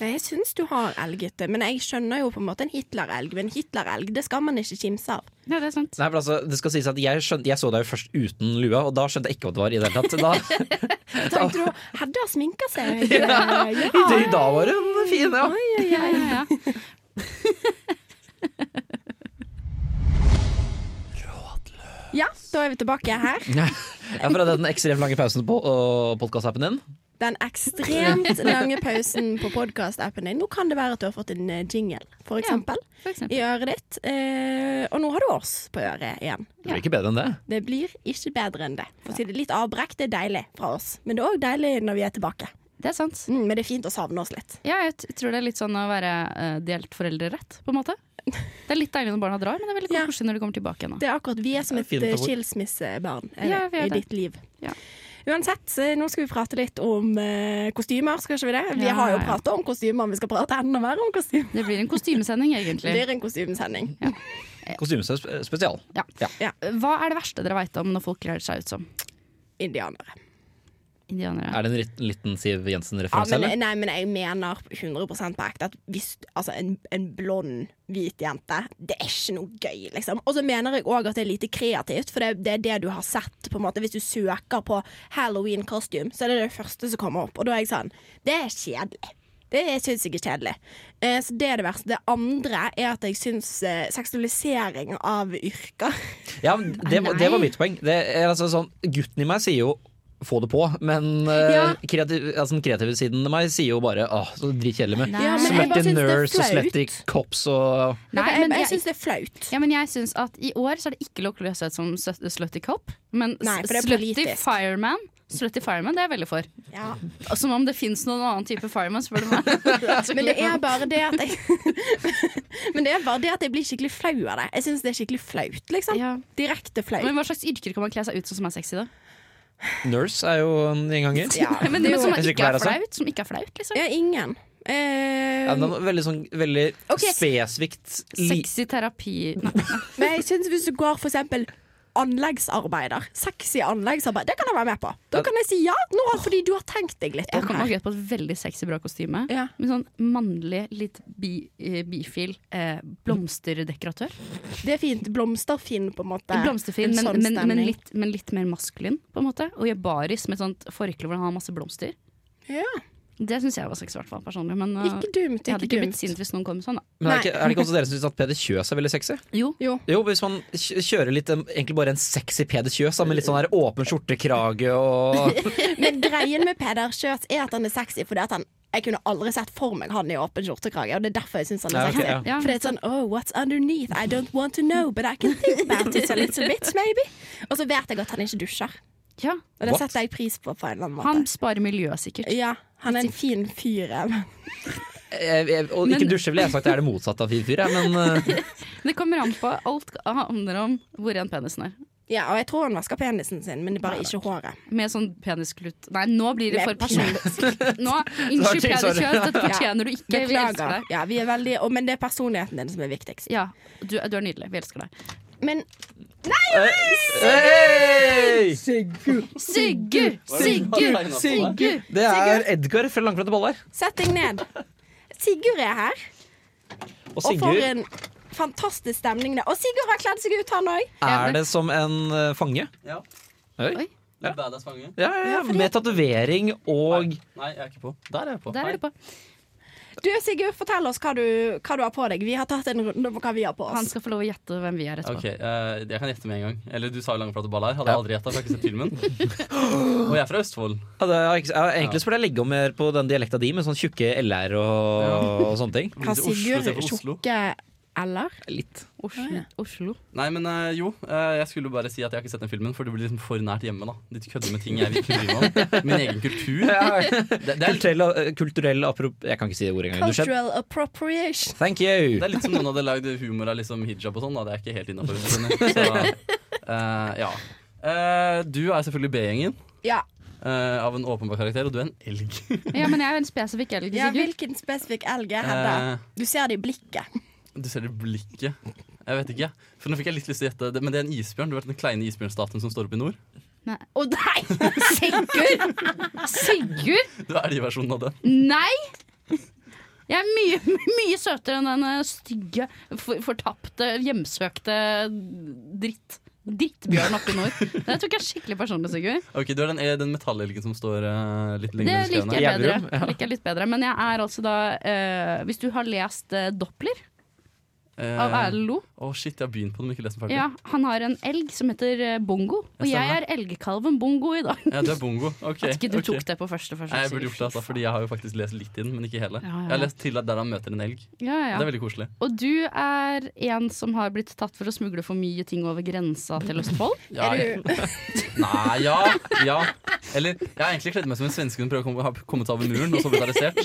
[SPEAKER 5] Nei, jeg syns du har elgete, men jeg skjønner jo på en måte en Hitler-elg. Men Hitler-elg, det skal man ikke kimse av.
[SPEAKER 3] Ja, det er sant.
[SPEAKER 4] Nei, men altså, det skal sies at jeg, skjønte, jeg så deg jo først uten lua, og da skjønte jeg ikke hva det var i det hele tatt. Da,
[SPEAKER 5] Tenkte du, Hedda sminker seg. Ja.
[SPEAKER 4] da var hun fin, ja.
[SPEAKER 5] Oi, oi,
[SPEAKER 3] Ja, ja, ja.
[SPEAKER 5] oi. ja, da er vi tilbake her.
[SPEAKER 4] Ja, for den ekstremt lange pausen på podkast-appen din.
[SPEAKER 5] Den ekstremt lange pausen på podkast-appen din. Nå kan det være at du har fått en eh, jingle, for eksempel,
[SPEAKER 3] For eksempel.
[SPEAKER 5] i øret ditt. Eh, og nå har du oss på øret igjen.
[SPEAKER 4] Det blir ikke bedre enn det.
[SPEAKER 5] Det blir ikke bedre enn det. For å si det litt avbrekk, det er deilig fra oss. Men det er òg deilig når vi er tilbake.
[SPEAKER 3] Det er sant.
[SPEAKER 5] Mm, men det er fint å savne oss litt.
[SPEAKER 3] Ja, jeg t- tror det er litt sånn å være eh, delt foreldrerett, på en måte. Det er litt deilig når barna drar, men det er veldig
[SPEAKER 5] Ja.
[SPEAKER 3] koselig når de kommer tilbake igjen. da.
[SPEAKER 5] Det er akkurat Vi er som
[SPEAKER 4] Det er
[SPEAKER 5] et
[SPEAKER 4] fint
[SPEAKER 5] eh,
[SPEAKER 4] ord.
[SPEAKER 5] skilsmissebarn er
[SPEAKER 3] Ja,
[SPEAKER 5] det,
[SPEAKER 3] vi er
[SPEAKER 5] i
[SPEAKER 3] det.
[SPEAKER 5] ditt liv.
[SPEAKER 3] Ja.
[SPEAKER 5] Uansett, eh, nå skal vi prate litt om eh, kostymer, skal ikke vi det? Vi
[SPEAKER 3] Ja,
[SPEAKER 5] har jo
[SPEAKER 3] ja.
[SPEAKER 5] prata om kostymer, men vi skal prate enda mer om kostymer.
[SPEAKER 3] Det blir en kostymesending, egentlig.
[SPEAKER 5] Det blir en kostymesending.
[SPEAKER 4] Kostymesøs spesial.
[SPEAKER 3] Ja.
[SPEAKER 4] Ja.
[SPEAKER 3] Hva er det verste dere veit om når folk kler seg ut som
[SPEAKER 5] Indianere.
[SPEAKER 3] indianere?
[SPEAKER 4] Er det en rit- liten Siv
[SPEAKER 5] Ja,
[SPEAKER 4] Jensen-referanse,
[SPEAKER 5] men,
[SPEAKER 4] eller?
[SPEAKER 5] nei, men jeg mener 100 på ekte at hvis altså, en, en blond, hvit jente Det er ikke noe gøy, liksom. Og så mener jeg òg at det er lite kreativt, for det, det er det du har sett. på en måte Hvis du søker på halloween costume, så er det det første som kommer opp. Og da er jeg sånn Det er kjedelig. Det syns jeg er kjedelig. Eh, så Det er det verste. Det andre er at jeg syns eh, seksualisering av yrker
[SPEAKER 4] Ja, men det, var- det var mitt poeng. Det er altså sånn, gutten i meg sier jo få det på, men eh,
[SPEAKER 5] Ja.
[SPEAKER 4] kreativ, altså, den kreative siden av meg sier jo bare åh, så dritkjedelig med
[SPEAKER 3] Ja, men jeg
[SPEAKER 5] bare
[SPEAKER 4] sletty
[SPEAKER 5] synes det er
[SPEAKER 4] nerds og
[SPEAKER 5] flaut.
[SPEAKER 4] sletty cops og
[SPEAKER 3] Nei,
[SPEAKER 5] Jeg,
[SPEAKER 3] men
[SPEAKER 5] jeg
[SPEAKER 3] jeg,
[SPEAKER 5] syns det er flaut.
[SPEAKER 3] ja, men jeg syns at i år så er det ikke lov til å løse ut som sø- slutty cop, men s-
[SPEAKER 5] Nei, for det er
[SPEAKER 3] slutty
[SPEAKER 5] politisk.
[SPEAKER 3] fireman. Slutty fireman, det er jeg veldig for.
[SPEAKER 5] Ja.
[SPEAKER 3] Som om det fins noen annen type fireman, spør du meg.
[SPEAKER 5] Men det er bare det at jeg Men det er bare det at jeg blir skikkelig flau av det. Jeg syns det er skikkelig flaut, liksom.
[SPEAKER 3] Ja.
[SPEAKER 5] Direkte flaut.
[SPEAKER 3] Men hva slags yrker kan man kle seg ut som som er sexy, da?
[SPEAKER 4] Nurse er jo en gjenganger.
[SPEAKER 5] Ja,
[SPEAKER 3] Men, men som,
[SPEAKER 4] Jeg synes
[SPEAKER 3] ikke
[SPEAKER 4] ikke altså.
[SPEAKER 3] er
[SPEAKER 4] det er så.
[SPEAKER 3] flaut, som ikke er flaut, liksom.
[SPEAKER 5] ja ingen. Eh,
[SPEAKER 4] Ja, den var veldig sånn, veldig
[SPEAKER 5] Ok.
[SPEAKER 4] spesifikt li
[SPEAKER 3] Sexy terapi Nei.
[SPEAKER 5] men jeg syns hvis du går for eksempel anleggsarbeider, sexy anleggsarbeid, det kan jeg være med på. Da kan jeg si ja, nå, har- fordi du har tenkt deg litt
[SPEAKER 3] Jeg
[SPEAKER 5] om
[SPEAKER 3] kom
[SPEAKER 5] her.
[SPEAKER 3] akkurat på et veldig sexy, bra kostyme.
[SPEAKER 5] Ja.
[SPEAKER 3] Med sånn mannlig, litt bi, eh, bifil eh, blomsterdekoratør.
[SPEAKER 5] Det er fint. Blomsterfinn, på en måte.
[SPEAKER 3] Blomsterfin,
[SPEAKER 5] En
[SPEAKER 3] men,
[SPEAKER 5] sånn
[SPEAKER 3] men, men,
[SPEAKER 5] stemning.
[SPEAKER 3] litt, men litt mer maskulin, på en måte. Og gjør baris med et sånt forkle hvor han har masse blomster.
[SPEAKER 5] Ja.
[SPEAKER 3] Det syns jeg var sexy, i hvert fall personlig. Men eh,
[SPEAKER 5] Ikke dumt.
[SPEAKER 3] jeg
[SPEAKER 5] Ikke
[SPEAKER 3] hadde ikke blitt
[SPEAKER 5] dumt.
[SPEAKER 3] sint hvis noen kom sånn, da.
[SPEAKER 4] Men er det, ikke, er det ikke også dere som syns at Peder Kjøs er veldig sexy?
[SPEAKER 3] Jo.
[SPEAKER 5] Jo.
[SPEAKER 4] Jo, hvis man kj- kjører litt em, egentlig bare en sexy Peder Kjøs, da, med litt sånn her åpen skjortekrage og
[SPEAKER 5] Men greien med Peder Kjøs er at han er sexy fordi at han jeg kunne aldri sett for meg han i åpen skjortekrage, og det er derfor jeg syns han er
[SPEAKER 4] Ja, ok,
[SPEAKER 5] sexy.
[SPEAKER 4] ja.
[SPEAKER 3] Ja,
[SPEAKER 5] For det er sånn Oh, what's underneath? I don't want to know, but I can think about it a little bit, maybe. Og så vet jeg at han ikke dusjer.
[SPEAKER 3] Ja.
[SPEAKER 5] Og det
[SPEAKER 4] What?
[SPEAKER 5] setter jeg pris på på en eller annen måte.
[SPEAKER 3] Han sparer miljøet, sikkert.
[SPEAKER 5] ja, han er en fin fyr. ja, men-
[SPEAKER 4] Jeg- jeg- Og ikke
[SPEAKER 3] Men-
[SPEAKER 4] dusje, ville jeg sagt. Det er det motsatte av fin fyr, jeg, men eh,
[SPEAKER 3] Men det kommer an på. Alt handler om hvor ren penisen er.
[SPEAKER 5] Ja, og jeg tror hun vasker penisen sin, men bare ikke håret.
[SPEAKER 3] Med sånn penisklut Nei, nå blir det
[SPEAKER 5] Med
[SPEAKER 3] for personlig. Nå, Unnskyld,
[SPEAKER 4] Sorry, sorry.
[SPEAKER 3] peniskjønn, dette fortjener du ikke. Vi elsker
[SPEAKER 5] Beklager.
[SPEAKER 3] deg.
[SPEAKER 5] Ja, vi er veldig, og, men det er personligheten din som er viktigst.
[SPEAKER 3] Ja, du, du er nydelig. Vi elsker deg.
[SPEAKER 5] Men
[SPEAKER 4] Hey!
[SPEAKER 3] Sigurd! Sigurd! Sigurd!
[SPEAKER 4] Det er Edgar fra Langflate boller.
[SPEAKER 5] sett deg ned. Sigurd er her,
[SPEAKER 4] Og
[SPEAKER 5] og for
[SPEAKER 4] Sigurd
[SPEAKER 5] en fantastisk stemning det. Og Sigurd har kledd seg ut, han òg.
[SPEAKER 4] er det som en eh, fange.
[SPEAKER 1] Ja.
[SPEAKER 4] Oi.
[SPEAKER 3] Oi.
[SPEAKER 4] Ja.
[SPEAKER 1] Badass fange.
[SPEAKER 4] Ja, ja, ja, med tatovering og
[SPEAKER 1] Nei, jeg er ikke på. Der er jeg på.
[SPEAKER 3] Der er du på.
[SPEAKER 5] Du Sigurd, fortell oss hva du, hva du har på deg. Vi har tatt en runde på hva vi har på
[SPEAKER 3] Han
[SPEAKER 5] oss.
[SPEAKER 3] skal få lov å gjette hvem vi er etterpå.
[SPEAKER 1] Ok, eh, Jeg kan gjette med en gang. Eller du sa jo langflate baller. Hadde jeg aldri gjetta, for jeg har ikke sett filmen. Og jeg er fra Østfold.
[SPEAKER 4] ja, det er, ikke- ja, Egentlig så burde jeg legge om mer på den dialekta di, med sånn tjukke LR og, og sånne ting.
[SPEAKER 5] Har
[SPEAKER 1] Oslo
[SPEAKER 5] Sigurd
[SPEAKER 1] istedenfor Oslo.
[SPEAKER 5] tjukke eller?
[SPEAKER 4] Litt.
[SPEAKER 3] Oslo. Oslo.
[SPEAKER 1] Nei, men eh, jo. eh, jeg skulle jo bare si at jeg har ikke sett den filmen, for det blir liksom for nært hjemme, da. De kødder med ting jeg vil ikke bry meg om. Min egen kultur. Det, det, er,
[SPEAKER 4] Kulturell, eh, kulturell aprop... Jeg kan ikke si det ordet engang. Du skjønner.
[SPEAKER 5] Cultural appropriation.
[SPEAKER 4] Thank you!
[SPEAKER 1] det er litt som noen hadde lagd humor av liksom hijab og sånn, da. Det er ikke helt innafor. Så eh, ja. Eh, du er selvfølgelig B-gjengen
[SPEAKER 5] Ja.
[SPEAKER 1] eh, av en åpenbar karakter, og du er en elg.
[SPEAKER 3] Ja, men jeg er en spesifikk elg,
[SPEAKER 5] ja,
[SPEAKER 3] Sigurd.
[SPEAKER 5] hvilken spesifikk elg er Hedda?
[SPEAKER 1] Eh,
[SPEAKER 5] Du ser det i blikket.
[SPEAKER 1] Du ser det i blikket. Jeg vet ikke. For nå fikk jeg litt lyst til å gjette det, men det er en isbjørn. Du vet den kleine isbjørnstatuen som står oppe i nord?
[SPEAKER 3] Nei. Å nei! Sigurd! Sigurd!
[SPEAKER 1] Du er de versjonen av den.
[SPEAKER 3] Nei! Jeg er mye, mye søtere enn den eh, stygge, for- fortapte, hjemsøkte dritt. Drittbjørn oppe i nord. Det tror jeg er skikkelig personlig, Sigurd.
[SPEAKER 1] Ok, Du er den, eh, den metallelgen som står eh, litt
[SPEAKER 3] Det
[SPEAKER 1] lenger
[SPEAKER 3] liker
[SPEAKER 1] skrevet.
[SPEAKER 3] jeg bedre.
[SPEAKER 4] Jævlig, ja.
[SPEAKER 3] Liker jeg litt bedre. Men jeg er altså da eh, Hvis du har lest eh, Doppler av
[SPEAKER 1] Eh,
[SPEAKER 3] Erlend Lo
[SPEAKER 1] Å, shit, jeg har begynt på den, men ikke lest den ferdig.
[SPEAKER 3] ja, Han har en elg som heter eh, Bongo. Og
[SPEAKER 1] Jeg
[SPEAKER 3] jeg
[SPEAKER 1] stemmer.
[SPEAKER 3] er elgkalven Bongo i dag.
[SPEAKER 1] Ja, du er bongo. Ok.
[SPEAKER 3] At ikke du
[SPEAKER 1] ok.
[SPEAKER 3] tok det på første forsøk.
[SPEAKER 1] Nei, jeg burde
[SPEAKER 3] Sigurd.
[SPEAKER 1] gjort det, altså, fordi jeg har jo faktisk lest litt i den, men ikke hele.
[SPEAKER 3] Ja, ja, ja.
[SPEAKER 1] Jeg har lest til at der han møter en elg.
[SPEAKER 3] Ja, ja, ja.
[SPEAKER 1] Det er veldig koselig.
[SPEAKER 3] Og du er en som har blitt tatt for å smugle for mye ting over grensa til Østfold.
[SPEAKER 1] Ja,
[SPEAKER 5] Er du,
[SPEAKER 1] Nei, ja, ja. Eller jeg har egentlig kledd meg som en svenske som prøver å komme, har kommet over muren, og så blitt arrestert.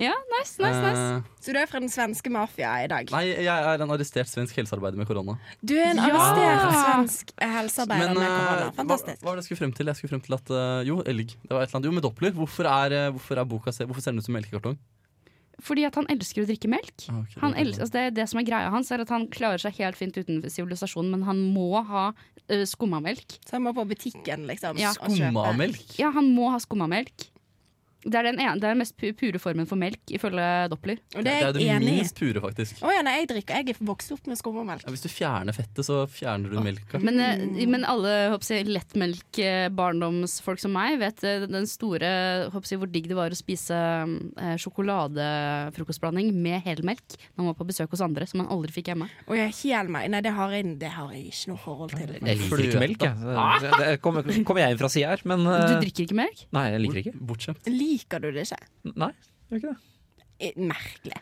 [SPEAKER 3] Ja, nice, nice, nice.
[SPEAKER 1] Eh,
[SPEAKER 5] så du er fra den svenske mafia i dag?
[SPEAKER 1] nei, jeg er en arrestert svensk helsearbeider med korona.
[SPEAKER 5] Du er en
[SPEAKER 3] Ja!
[SPEAKER 5] arrestert svensk helsearbeider med
[SPEAKER 1] eh,
[SPEAKER 5] korona.
[SPEAKER 1] Hva,
[SPEAKER 5] Fantastisk.
[SPEAKER 1] hva var det jeg skulle frem til? Jeg skulle frem til at eh, Jo, elg. Det var et eller annet. Jo, med Doppler. Hvorfor, er, eh, hvorfor, er boka, se- hvorfor ser den ut som melkekartong?
[SPEAKER 3] Fordi at han elsker å drikke melk.
[SPEAKER 1] Eh. Ah, ok, det
[SPEAKER 3] Han
[SPEAKER 1] var
[SPEAKER 3] elsker,
[SPEAKER 1] det.
[SPEAKER 3] altså det, er det som er greia hans, er at han klarer seg helt fint uten sivilisasjon, men han må ha uh, skummamelk.
[SPEAKER 5] Så jeg må på butikken, liksom.
[SPEAKER 3] Ja.
[SPEAKER 5] og kjøpe.
[SPEAKER 1] Skummamelk?
[SPEAKER 3] Ja, han må ha skummamelk. Det er den, ene, det er den mest pu- pure formen for melk, ifølge Doppler.
[SPEAKER 5] Og det
[SPEAKER 1] Det er
[SPEAKER 5] er
[SPEAKER 1] det
[SPEAKER 5] jeg enig i.
[SPEAKER 1] minst pure, faktisk.
[SPEAKER 5] Å ja, nei, jeg drikker. Jeg er vokst opp med skummemelk.
[SPEAKER 1] Ja, hvis du fjerner fettet, så fjerner du melka.
[SPEAKER 3] Men, eh,
[SPEAKER 4] Mm.
[SPEAKER 3] men alle håper jeg, lettmelk eh, barndomsfolk som meg vet eh, den store håper jeg, hvor digg det var å spise eh, sjokoladefrokostblanding med helmelk når man var på besøk hos andre, som man aldri fikk hjemme.
[SPEAKER 5] Og jeg hel meg. Nei, det har, jeg, det har jeg ikke noe forhold til.
[SPEAKER 4] Jeg liker ikke melk, jeg. Det- det- det Kommer kommer jeg inn fra sida her, men
[SPEAKER 3] Du
[SPEAKER 4] eh,
[SPEAKER 3] drikker ikke melk?
[SPEAKER 4] Nei, jeg liker det ikke.
[SPEAKER 1] Bortskjemt.
[SPEAKER 5] Liker du det ikke?
[SPEAKER 4] Nei, jeg gjør ikke det.
[SPEAKER 5] Eh, Merkelig.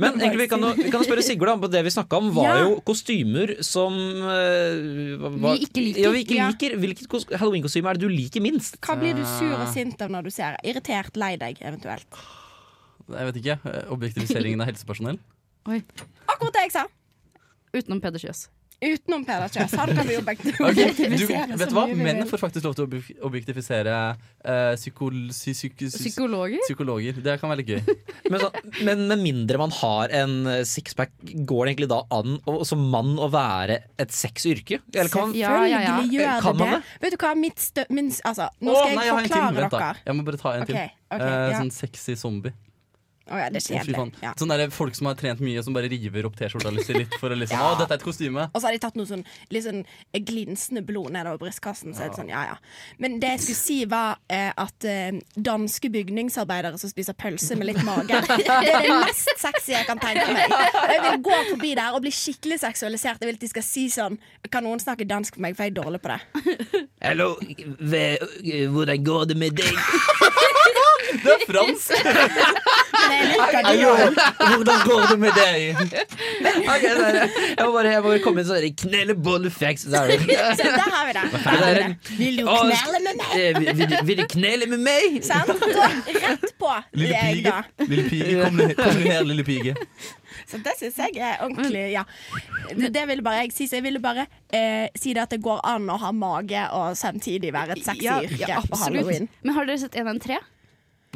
[SPEAKER 4] Men egentlig, vi kan, jo, vi kan jo spørre Sigurd da, på det vi snakka om, var
[SPEAKER 5] Ja.
[SPEAKER 4] jo kostymer som eh, hva- hva-
[SPEAKER 3] Vi ikke liker.
[SPEAKER 4] Ja, vi ikke
[SPEAKER 5] Ja.
[SPEAKER 4] liker. Hvilket kos- Halloween-kostyme er det du liker minst?
[SPEAKER 5] Hva blir du sur og sint av når du ser det? Irritert, lei deg, eventuelt.
[SPEAKER 1] Jeg vet ikke. eh, Objektiviseringen av helsepersonell.
[SPEAKER 5] Akkurat det jeg sa!
[SPEAKER 3] Utenom Peder Kjøs.
[SPEAKER 5] Utenom Peder Kjøs. Han kan vi jo begge
[SPEAKER 1] Ok, du,
[SPEAKER 5] objektivisere
[SPEAKER 1] vet du
[SPEAKER 5] så
[SPEAKER 1] hva?
[SPEAKER 5] mye vi
[SPEAKER 1] Menn
[SPEAKER 5] vil.
[SPEAKER 1] får faktisk lov til å obje- objektifisere eh, psykol, psy, psyk- psy,
[SPEAKER 3] Psykologer?
[SPEAKER 1] psykologer. Det kan være litt gøy.
[SPEAKER 4] Men, så, men med mindre man har en eh, sixpack, går det egentlig da an å, som mann å være et sexyrke? Eller kan man
[SPEAKER 3] Ja, ja, ja.
[SPEAKER 5] Selvfølgelig
[SPEAKER 1] Eh,
[SPEAKER 5] gjør
[SPEAKER 4] Kan
[SPEAKER 5] det
[SPEAKER 4] man
[SPEAKER 5] det. Vet du hva, mitt stø... Min, altså, nå
[SPEAKER 1] Å,
[SPEAKER 5] skal jeg
[SPEAKER 1] nei, har en til.
[SPEAKER 5] forklare
[SPEAKER 1] Vent da.
[SPEAKER 5] dere.
[SPEAKER 1] Jeg må bare ta en
[SPEAKER 5] Ok,
[SPEAKER 1] til.
[SPEAKER 5] ok,
[SPEAKER 1] Eh,
[SPEAKER 5] ja.
[SPEAKER 1] Sånn sexy zombie.
[SPEAKER 5] Å ja, det
[SPEAKER 1] Å,
[SPEAKER 5] er
[SPEAKER 1] fy faen.
[SPEAKER 5] kjedelig. Ja.
[SPEAKER 1] Sånn der, Folk som har trent mye, som bare river opp T-skjorta litt, litt for å liksom Å, dette er et kostyme.
[SPEAKER 5] Og så har de tatt noe sånn litt sånn glinsende blod nedover brystkassen. Så er det sånn, ja, ja. Men det jeg skulle si, var eh, at eh, danske bygningsarbeidere som spiser pølse med litt mage, det er det mest sexy jeg kan tenke meg. Og Jeg vil gå forbi der og bli skikkelig seksualisert. Jeg vil at de skal si sånn Kan noen snakke dansk for meg, for jeg er dårlig på det.
[SPEAKER 4] Hallo, ve- hvordan går det med deg?
[SPEAKER 1] Det er fransk!
[SPEAKER 4] Hvordan går det med deg? Ok, det er, jeg, må bare, jeg må bare komme inn sånn der, knellebollefacts. Så er det.
[SPEAKER 5] Så der har vi det.
[SPEAKER 4] Det er en-
[SPEAKER 5] Vil du
[SPEAKER 4] Å,
[SPEAKER 5] knelle med meg?
[SPEAKER 4] eh, vil- vil, vil du knelle med meg?
[SPEAKER 5] Sant? Så Rett på
[SPEAKER 1] Lille
[SPEAKER 5] leg,
[SPEAKER 1] pige,
[SPEAKER 5] da.
[SPEAKER 1] lille pige kom, ned, kom ned her, lille pige.
[SPEAKER 5] Så det syns jeg er ordentlig Ja. Men Det ville bare jeg si. Så jeg ville bare eh, si det at det går an å ha mage og samtidig være et sexy
[SPEAKER 3] Ja,
[SPEAKER 5] yrke
[SPEAKER 3] ja,
[SPEAKER 5] på
[SPEAKER 3] absolutt.
[SPEAKER 5] halloween.
[SPEAKER 3] Men har dere sett 113?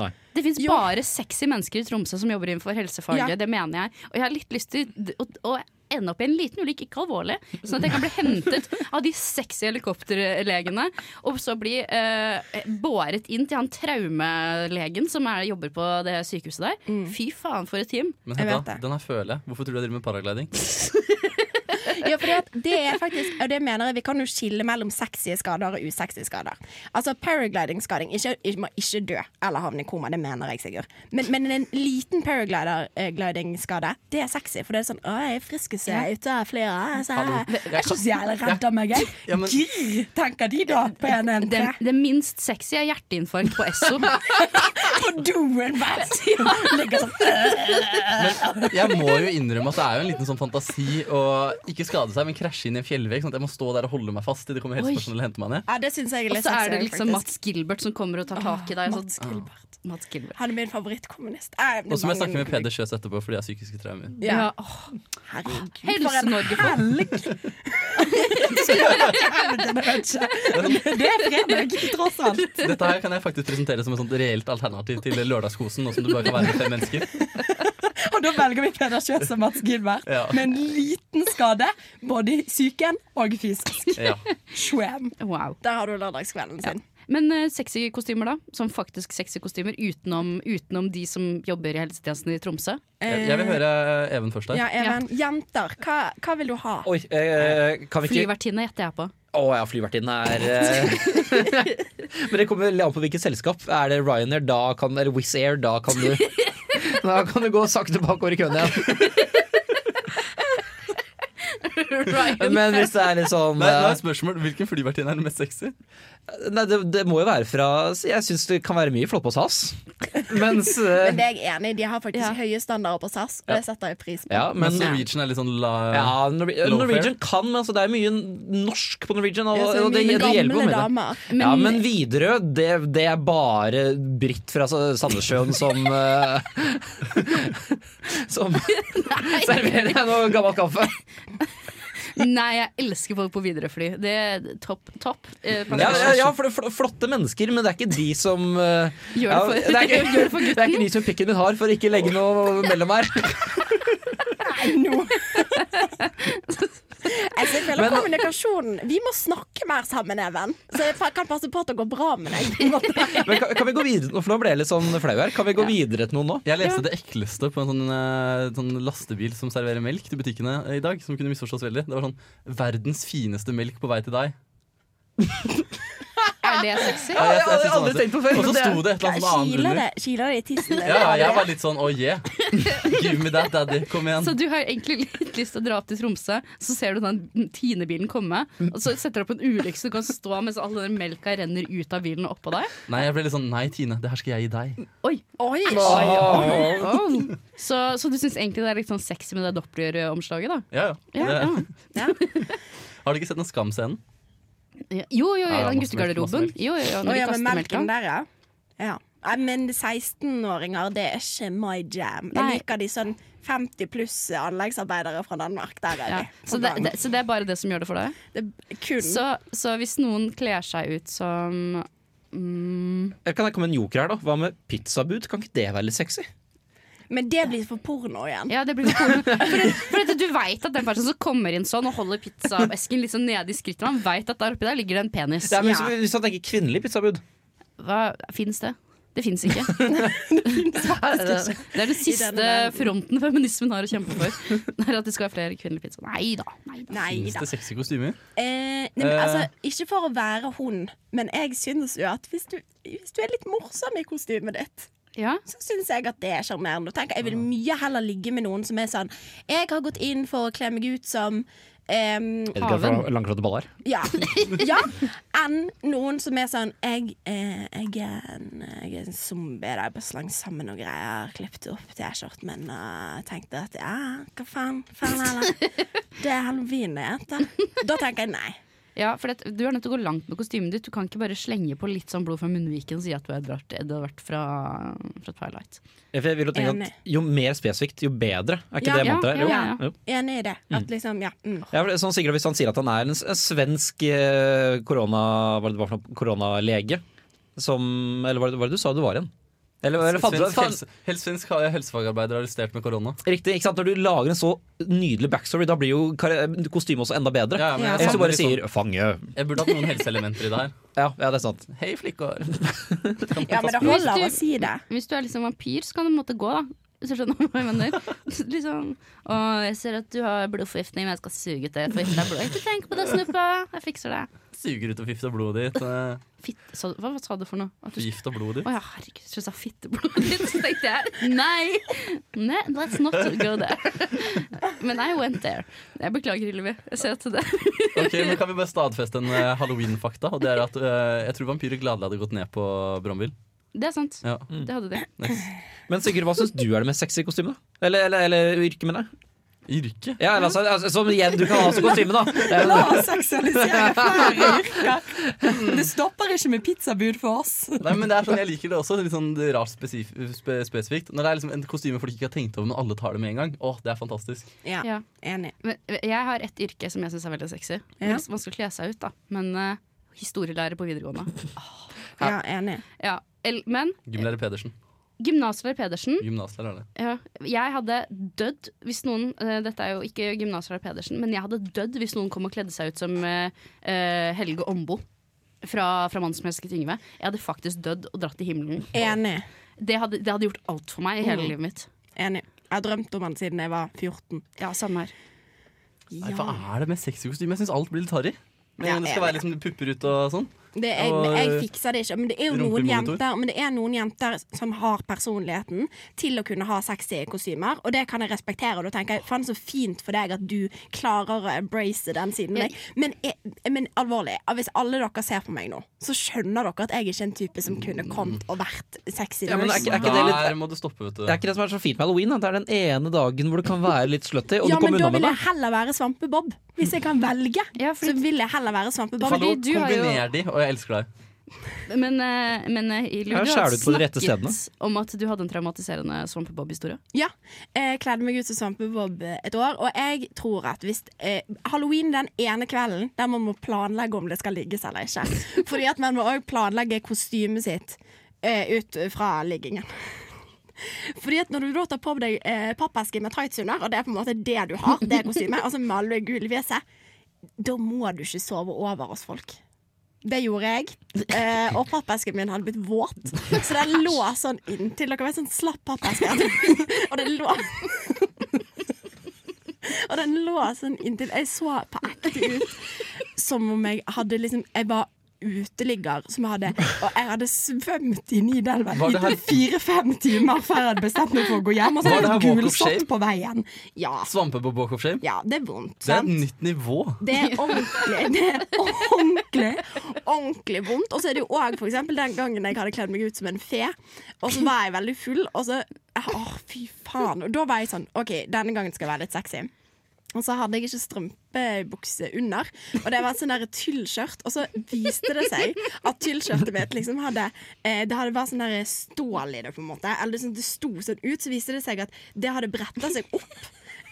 [SPEAKER 2] Nei.
[SPEAKER 3] Det fins
[SPEAKER 5] Jo.
[SPEAKER 3] bare sexy mennesker i Tromsø som jobber innenfor helsefaget.
[SPEAKER 5] Ja.
[SPEAKER 3] Det mener jeg. Og jeg har litt lyst til d- å, å ende opp i en liten ulykke, ikke alvorlig, sånn at jeg kan bli hentet av de sexy helikopterlegene. Og så bli eh, båret inn til han traumelegen som er, jobber på det sykehuset der.
[SPEAKER 5] Mm.
[SPEAKER 3] Fy faen, for et team.
[SPEAKER 1] Men
[SPEAKER 5] Jeg vet
[SPEAKER 1] Hedda,
[SPEAKER 5] det.
[SPEAKER 1] den her føler jeg. Hvorfor tror du jeg driver med paragliding?
[SPEAKER 5] Ja, fordi at det er faktisk Og det mener jeg vi kan jo skille mellom sexy skader og usexy skader. Altså paragliding-skading ikke, ikke, må ikke dø eller havne i koma, det mener jeg, Sigurd. Men, men en liten paragliding-skade, det er sexy. For det er sånn Å, jeg frisker seg ut av flere. Så
[SPEAKER 1] Hallo.
[SPEAKER 5] jeg, jeg er ikke så jævlig redd av meg, jeg.
[SPEAKER 1] Ja, men-
[SPEAKER 5] Girr, tenker de da på en en
[SPEAKER 3] Det, det minst sexy er hjerteinfarkt på Esso.
[SPEAKER 5] På doen, hva? Ligger sånn
[SPEAKER 1] Men jeg må jo innrømme at det er jo en liten sånn fantasi å ikke skade seg, men krasje inn i en fjellvegg. Sånn at jeg må stå der og holde meg fast til det kommer helsepersonell og henter meg ned.
[SPEAKER 5] Ja, det syns jeg er
[SPEAKER 3] Og
[SPEAKER 5] litt
[SPEAKER 3] så er det
[SPEAKER 5] sexy,
[SPEAKER 3] liksom
[SPEAKER 5] faktisk.
[SPEAKER 3] Mats Gilbert som kommer og tar tak i deg. og
[SPEAKER 5] Mats
[SPEAKER 3] så-
[SPEAKER 5] Gilbert.
[SPEAKER 3] Mats Gilbert.
[SPEAKER 5] Han er min favorittkommunist. Eh, det er
[SPEAKER 1] Og så må jeg
[SPEAKER 5] mange-
[SPEAKER 1] snakke med Peder Sjøs etterpå fordi jeg har psykiske traumer.
[SPEAKER 5] Ja.
[SPEAKER 3] Ja, åh,
[SPEAKER 5] Herregud, for en
[SPEAKER 3] Helse-Norge for
[SPEAKER 5] Det er fredag, tross alt.
[SPEAKER 1] Dette her kan jeg faktisk presentere som et sånt reelt alternativ til lørdagskosen. Nå som du bare kan være med fem mennesker
[SPEAKER 5] Og da velger vi Peder Kjøs og Mats Gilbert
[SPEAKER 1] Ja.
[SPEAKER 5] med en liten skade, både i psyken og fysisk.
[SPEAKER 1] ja.
[SPEAKER 5] Schwem.
[SPEAKER 3] Wow.
[SPEAKER 5] Der har du lørdagskvelden sin.
[SPEAKER 3] Men eh, sexy kostymer, da? Som faktisk sexy kostymer, utenom, utenom de som jobber i helsetjenesten i Tromsø?
[SPEAKER 5] Eh.
[SPEAKER 1] Jeg jeg vil høre Even først
[SPEAKER 5] Ja,
[SPEAKER 1] her.
[SPEAKER 5] Even. Jenter, hva, hva vil du ha?
[SPEAKER 4] Oi, eh, kan vi ikke
[SPEAKER 3] Flyvertinne gjetter jeg på.
[SPEAKER 4] Å ja, flyvertinnen er eh, Men det kommer veldig an på hvilket selskap. Er det Ryanair, da kan Eller Wizz Air, da kan du Da kan du gå sakte bakover i køen igjen. Men hvis det er litt sånn
[SPEAKER 1] Nei, nå er
[SPEAKER 4] eh,
[SPEAKER 1] spørsmål, Hvilken flyvertinne er den mest sexy?
[SPEAKER 4] Nei, det, det må jo være fra så Jeg syns det kan være mye Flåttås Hass. Mens eh,
[SPEAKER 5] Men det er jeg enig i. De har faktisk
[SPEAKER 3] Ja.
[SPEAKER 5] høye standarder på SAS, og det setter jeg pris på.
[SPEAKER 4] Ja, men
[SPEAKER 1] Mens Norwegian er litt sånn la...
[SPEAKER 4] ja, Norwe-
[SPEAKER 1] Low
[SPEAKER 4] Norwegian kan, men altså, det er mye norsk på Norwegian. Og,
[SPEAKER 5] Jeg ser
[SPEAKER 4] og det,
[SPEAKER 5] mine
[SPEAKER 4] det hjelper
[SPEAKER 5] gamle
[SPEAKER 4] jo med det.
[SPEAKER 5] damer.
[SPEAKER 3] Men-
[SPEAKER 4] ja, men Widerøe, det, det er bare Britt fra Sa- Sandnessjøen som eh, Som serverer deg noe gammel kaffe.
[SPEAKER 3] Nei, jeg elsker folk på Widerøe-fly. Det er topp. topp eh,
[SPEAKER 4] Ja, ja, ja for, for, flotte mennesker, men det er ikke de som eh,
[SPEAKER 3] Gjør det
[SPEAKER 4] ja,
[SPEAKER 3] for-
[SPEAKER 4] det, er ikke,
[SPEAKER 3] gjør det for
[SPEAKER 4] det er ikke de som pikken min har, for å ikke legge noe mellom her.
[SPEAKER 5] Nå. Altså, jeg føler kommunikasjonen Vi må snakke mer sammen, Even. Så jeg kan passe på at det går bra med deg. på en måte.
[SPEAKER 4] Men kan, kan vi gå videre nå, for nå ble jeg litt sånn flau her. Kan vi gå videre til noen nå?
[SPEAKER 1] Jeg leste det ekleste på en sånn, eh, sånn lastebil som serverer melk til butikkene eh, i dag. Som kunne misforstås veldig. Det var sånn 'verdens fineste melk på vei til deg'.
[SPEAKER 3] Er det sexy?
[SPEAKER 1] Ja, jeg- jeg
[SPEAKER 4] det har jeg
[SPEAKER 1] synes sånn
[SPEAKER 4] aldri
[SPEAKER 1] at-
[SPEAKER 4] tenkt på før,
[SPEAKER 1] Og så
[SPEAKER 4] men det-
[SPEAKER 1] sto det et eller annet annet
[SPEAKER 5] Kiler
[SPEAKER 1] under.
[SPEAKER 5] det, kiler det i tissen?
[SPEAKER 1] Ja, ja, jeg var litt sånn oh yeah. Give me that, daddy. Kom igjen.
[SPEAKER 3] Så du har egentlig litt lyst til å dra opp til Tromsø, så ser du den Tine-bilen komme, og så setter du opp en ulykke så du kan stå mens all den melka renner ut av bilen og oppå deg?
[SPEAKER 1] Nei, jeg ble litt sånn nei, Tine. Det her skal jeg gi deg.
[SPEAKER 3] Oi!
[SPEAKER 5] Oi,
[SPEAKER 3] Oh. Så, så du syns egentlig det er litt sånn sexy med det Doppler-omslaget, da?
[SPEAKER 1] Ja, ja.
[SPEAKER 3] Ja,
[SPEAKER 1] Det,
[SPEAKER 3] ja.
[SPEAKER 1] har du ikke sett den Skam-scenen?
[SPEAKER 3] Ja. Jo, jo,
[SPEAKER 1] Ja,
[SPEAKER 3] jo,
[SPEAKER 1] ja,
[SPEAKER 3] den
[SPEAKER 1] masse melk,
[SPEAKER 3] guttegarderoben.
[SPEAKER 1] masse melk.
[SPEAKER 3] Jo, jo, jo,
[SPEAKER 5] Å
[SPEAKER 3] når de
[SPEAKER 5] ja, men
[SPEAKER 3] kaster melka.
[SPEAKER 5] melken der, ja. ja. Nei, men 16-åringer, det er ikke my jam. Jeg
[SPEAKER 3] Nei.
[SPEAKER 5] liker de sånn 50 pluss anleggsarbeidere fra Danmark. Der er
[SPEAKER 3] Ja.
[SPEAKER 5] vi.
[SPEAKER 3] Så, det, det, så det er bare det som gjør det for deg?
[SPEAKER 5] det er kun
[SPEAKER 3] Så, så hvis noen kler seg ut som mm,
[SPEAKER 4] Eller Eh, Kan jeg komme med en joker her, da? Hva med pizzabud? Kan ikke det være litt sexy?
[SPEAKER 5] Men det blir for porno igjen.
[SPEAKER 3] Ja, det blir for porno. For, for at du veit at den personen som kommer inn sånn og holder pizzaesken litt sånn nede i skrittet, han veit at der oppi der ligger det en penis.
[SPEAKER 4] Det er, men,
[SPEAKER 5] Ja.
[SPEAKER 4] hvis- Hvis man tenker kvinnelig pizzabud
[SPEAKER 3] Hva Fins det? Det fins ikke. Det er den siste
[SPEAKER 5] verden.
[SPEAKER 3] fronten feminismen har å kjempe for. Det er At det skal være flere kvinnelige pizzaer. Nei da. Nei da.
[SPEAKER 5] Nei
[SPEAKER 1] Finnes
[SPEAKER 5] da.
[SPEAKER 1] det sexy kostymer?
[SPEAKER 5] Eh, nei, men, altså, ikke for å være hun, men jeg syns jo at hvis du, hvis du er litt morsom i kostymet ditt
[SPEAKER 3] Ja.
[SPEAKER 5] så syns jeg at det er sjarmerende. Og tenk, Jeg vil mye heller ligge med noen som er sånn Jeg har gått inn for å kle meg ut som em,
[SPEAKER 4] Edgar
[SPEAKER 3] Haven.
[SPEAKER 4] fra Langklotte Ballar.
[SPEAKER 5] ja. ja. Enn noen som er sånn jeg, eh, jeg, er, en, jeg er en zombie. Jeg er bare slangt sammen og greier. Klippet opp T-skjorten min og tenkte at ja, hva faen? faen heller. Det er halloween det heter. Da tenker jeg nei.
[SPEAKER 3] Ja, for det, Du er nødt til å gå langt med kostymet ditt. Du kan ikke bare slenge på litt sånn blod fra munnviken og si at du er Edvard, Edvard fra, fra Twilight.
[SPEAKER 4] Jeg vil jo tenke
[SPEAKER 5] Enig.
[SPEAKER 4] at Jo mer spesifikt, jo bedre. Er ikke
[SPEAKER 5] Ja,
[SPEAKER 4] det
[SPEAKER 3] ja,
[SPEAKER 4] mantraet?
[SPEAKER 3] ja,
[SPEAKER 4] Jo.
[SPEAKER 3] ja, ja.
[SPEAKER 4] Jo.
[SPEAKER 5] Enig i det. At liksom, ja. Mm.
[SPEAKER 4] Ja, for det er sånn Sigurd, Hvis han sier at han er en s- en svensk eh, korona, hva var det det var for noe, koronalege som, Eller hva var det- hva var det du sa du var igjen? Eller, eller fadder-
[SPEAKER 1] Svensk helse,
[SPEAKER 4] fadder-
[SPEAKER 1] hel- svensk helsefagarbeider arrestert med korona.
[SPEAKER 4] Riktig, ikke sant? Når du lager en så nydelig backstory, da blir jo kar- kostymet også enda bedre.
[SPEAKER 1] Ja, ja, men jeg
[SPEAKER 5] Ja.
[SPEAKER 1] savner
[SPEAKER 4] Hvis du bare
[SPEAKER 1] litt sånn-
[SPEAKER 4] sier 'fange'.
[SPEAKER 1] Jeg burde hatt noen helseelementer i det her.
[SPEAKER 4] Ja, ja, det er sant.
[SPEAKER 1] Hei, flikker.
[SPEAKER 5] Ja, men
[SPEAKER 3] Hvis
[SPEAKER 5] det
[SPEAKER 3] du-
[SPEAKER 5] holder å si det.
[SPEAKER 3] Hvis du er liksom vampyr, så kan du på en måte gå, da. Hvis du skjønner hva jeg mener. liksom, og jeg ser at du har blodforgiftning, men jeg skal suge ut det. Forgifte deg blod. Ikke tenk på det, snuppa. Jeg fikser det.
[SPEAKER 1] Suger ut og fifter blodet ditt. eh,
[SPEAKER 3] Fitt, så, hva, hva sa du for noe? At du,
[SPEAKER 1] Gift og blodet
[SPEAKER 3] å ja, herregud, jeg tror jeg sa fitteblodet ditt. Så tenkte jeg nei, nei, let's not go there. Men I went there. Jeg beklager, Hillevi. Jeg ser til det.
[SPEAKER 1] ditt. Ok, nå kan vi bare stadfeste en eh, halloween-fakta. Og det er at eh, Jeg tror vampyrer gladelig hadde gått ned på Bromvill.
[SPEAKER 3] Det er sant.
[SPEAKER 1] Ja.
[SPEAKER 4] Mm.
[SPEAKER 3] Det hadde de.
[SPEAKER 4] Men Sigurd, hva syns du er det mest sexy kostymet? da? Eller, eller, eller yrket, mener jeg.
[SPEAKER 1] Yrke?
[SPEAKER 4] Ja, eller, altså, altså, som igjen du kan ha som kostyme, da. Det er-
[SPEAKER 5] La oss seksualisere flere yrker. Det stopper ikke med pizzabud for oss.
[SPEAKER 1] Nei, men det er sånn, Jeg liker det også. Litt sånn rart spesif spe spesifikt. Når det er liksom en kostyme folk ikke har tenkt over, men alle tar det med en gang. Åh, det er fantastisk.
[SPEAKER 5] Ja,
[SPEAKER 3] Ja.
[SPEAKER 5] enig.
[SPEAKER 3] Men eh, jeg har et yrke som jeg syns er veldig sexy.
[SPEAKER 5] Ja.
[SPEAKER 3] Man skal kle seg ut, da. Men eh, historielærer på videregående.
[SPEAKER 5] Ja, enig.
[SPEAKER 3] Ja. El, men
[SPEAKER 1] Gymlærer Pedersen.
[SPEAKER 3] gymnaslærer Pedersen
[SPEAKER 1] Gymnaslærer er det.
[SPEAKER 3] ja, Jeg hadde dødd hvis noen eh, Dette er jo ikke gymnaslærer Pedersen, men jeg hadde dødd hvis noen kom og kledde seg ut som eh, eh, Helge Ombo. Fra, fra 'Mannen som elsket Yngve'. Jeg hadde faktisk dødd og dratt i himmelen.
[SPEAKER 5] Enig.
[SPEAKER 3] Det hadde, det hadde gjort alt for meg i
[SPEAKER 4] Mm.
[SPEAKER 3] hele livet mitt.
[SPEAKER 5] Enig. Jeg har drømt om han siden jeg var 14.
[SPEAKER 3] Ja, samme her.
[SPEAKER 1] Nei, Hva er det med sexy kostyme? Jeg syns alt blir litt harry. Men det
[SPEAKER 5] Ja, jeg
[SPEAKER 1] skal
[SPEAKER 5] er
[SPEAKER 1] være liksom pupper ut og sånn.
[SPEAKER 5] Det er,
[SPEAKER 1] Og,
[SPEAKER 5] jeg
[SPEAKER 1] eh,
[SPEAKER 5] fikser det ikke. Men det er jo noen
[SPEAKER 1] rumpemonitor.
[SPEAKER 5] jenter Men det er noen jenter som har personligheten til å kunne ha sexy kostymer, og det kan jeg respektere. Og da tenker jeg faen så fint for deg at du klarer å embrace den siden av deg. Men, jeg, men alvorlig, hvis alle dere ser på meg nå, så skjønner dere at jeg er ikke en type som kunne kommet og vært sexy.
[SPEAKER 4] Ja, men
[SPEAKER 5] nurse.
[SPEAKER 4] er ikke- er ikke det litt-
[SPEAKER 1] Der må du stoppe, vet du.
[SPEAKER 4] Det er ikke det som er så fint med halloween. Da. Det er den ene dagen hvor du kan være litt slutty, og
[SPEAKER 5] ja,
[SPEAKER 4] du kommer
[SPEAKER 5] men da
[SPEAKER 4] unna med
[SPEAKER 5] vil
[SPEAKER 4] det.
[SPEAKER 5] jeg heller være Svampebob. Hvis jeg kan velge,
[SPEAKER 3] Ja, fordi-
[SPEAKER 5] så vil jeg heller være Svampebob.
[SPEAKER 3] Fordi du har jo-
[SPEAKER 1] Kombiner de, og jeg elsker deg.
[SPEAKER 3] Men, eh, men eh, Ilu,
[SPEAKER 4] Ja,
[SPEAKER 3] du
[SPEAKER 4] skjærer
[SPEAKER 3] har
[SPEAKER 4] du på de rette
[SPEAKER 3] snakket om at du hadde en traumatiserende svampebob-historie.
[SPEAKER 5] Ja. Jeg kledde meg ut som svampebob et år, og jeg tror at hvis eh, Halloween den ene kvelden der man må planlegge om det skal ligges eller ikke. Fordi at man må òg planlegge kostymet sitt eh, ut fra liggingen. Fordi at Når du da tar på deg eh, pappeske med tights under, og det er på en måte det du har, det kostymet, og så maler du gul i fjeset, da må du ikke sove over hos folk. Det gjorde jeg. Eh, og pappesken min hadde blitt våt. Så den lå sånn inntil dere vet sånn slapp pappeske. og den lå Og den lå sånn inntil Jeg så på ekte ut som om jeg hadde liksom Jeg var uteligger som jeg hadde Og jeg hadde svømt i Nidelven
[SPEAKER 1] Var
[SPEAKER 5] i
[SPEAKER 1] det her-
[SPEAKER 5] fire-fem timer før jeg hadde bestemt meg for å gå hjem. Og så
[SPEAKER 1] Var
[SPEAKER 5] hadde
[SPEAKER 1] det
[SPEAKER 5] jeg
[SPEAKER 1] her walk of
[SPEAKER 5] gulsott
[SPEAKER 1] shame?
[SPEAKER 5] på veien. Ja,
[SPEAKER 1] Svampe på Walk of Shame.
[SPEAKER 5] ja, det er vondt.
[SPEAKER 1] Det er
[SPEAKER 5] Sant?
[SPEAKER 1] et nytt nivå.
[SPEAKER 5] Det er ordentlig Det er ordentlig Ordentlig vondt. Og så er det jo òg for eksempel den gangen jeg hadde kledd meg ut som en fe, og så var jeg veldig full, og så Åh, fy faen. Og da var jeg sånn OK, denne gangen skal jeg være litt sexy. Og så hadde jeg ikke strømpebukse under, og det var et sånn der tyllskjørt. Og så viste det seg at tyllskjørtet mitt liksom hadde eh, Det hadde bare sånn der stål i det, på en måte. Eller det, sånn, det sto sånn ut, så viste det seg at det hadde bretta seg opp.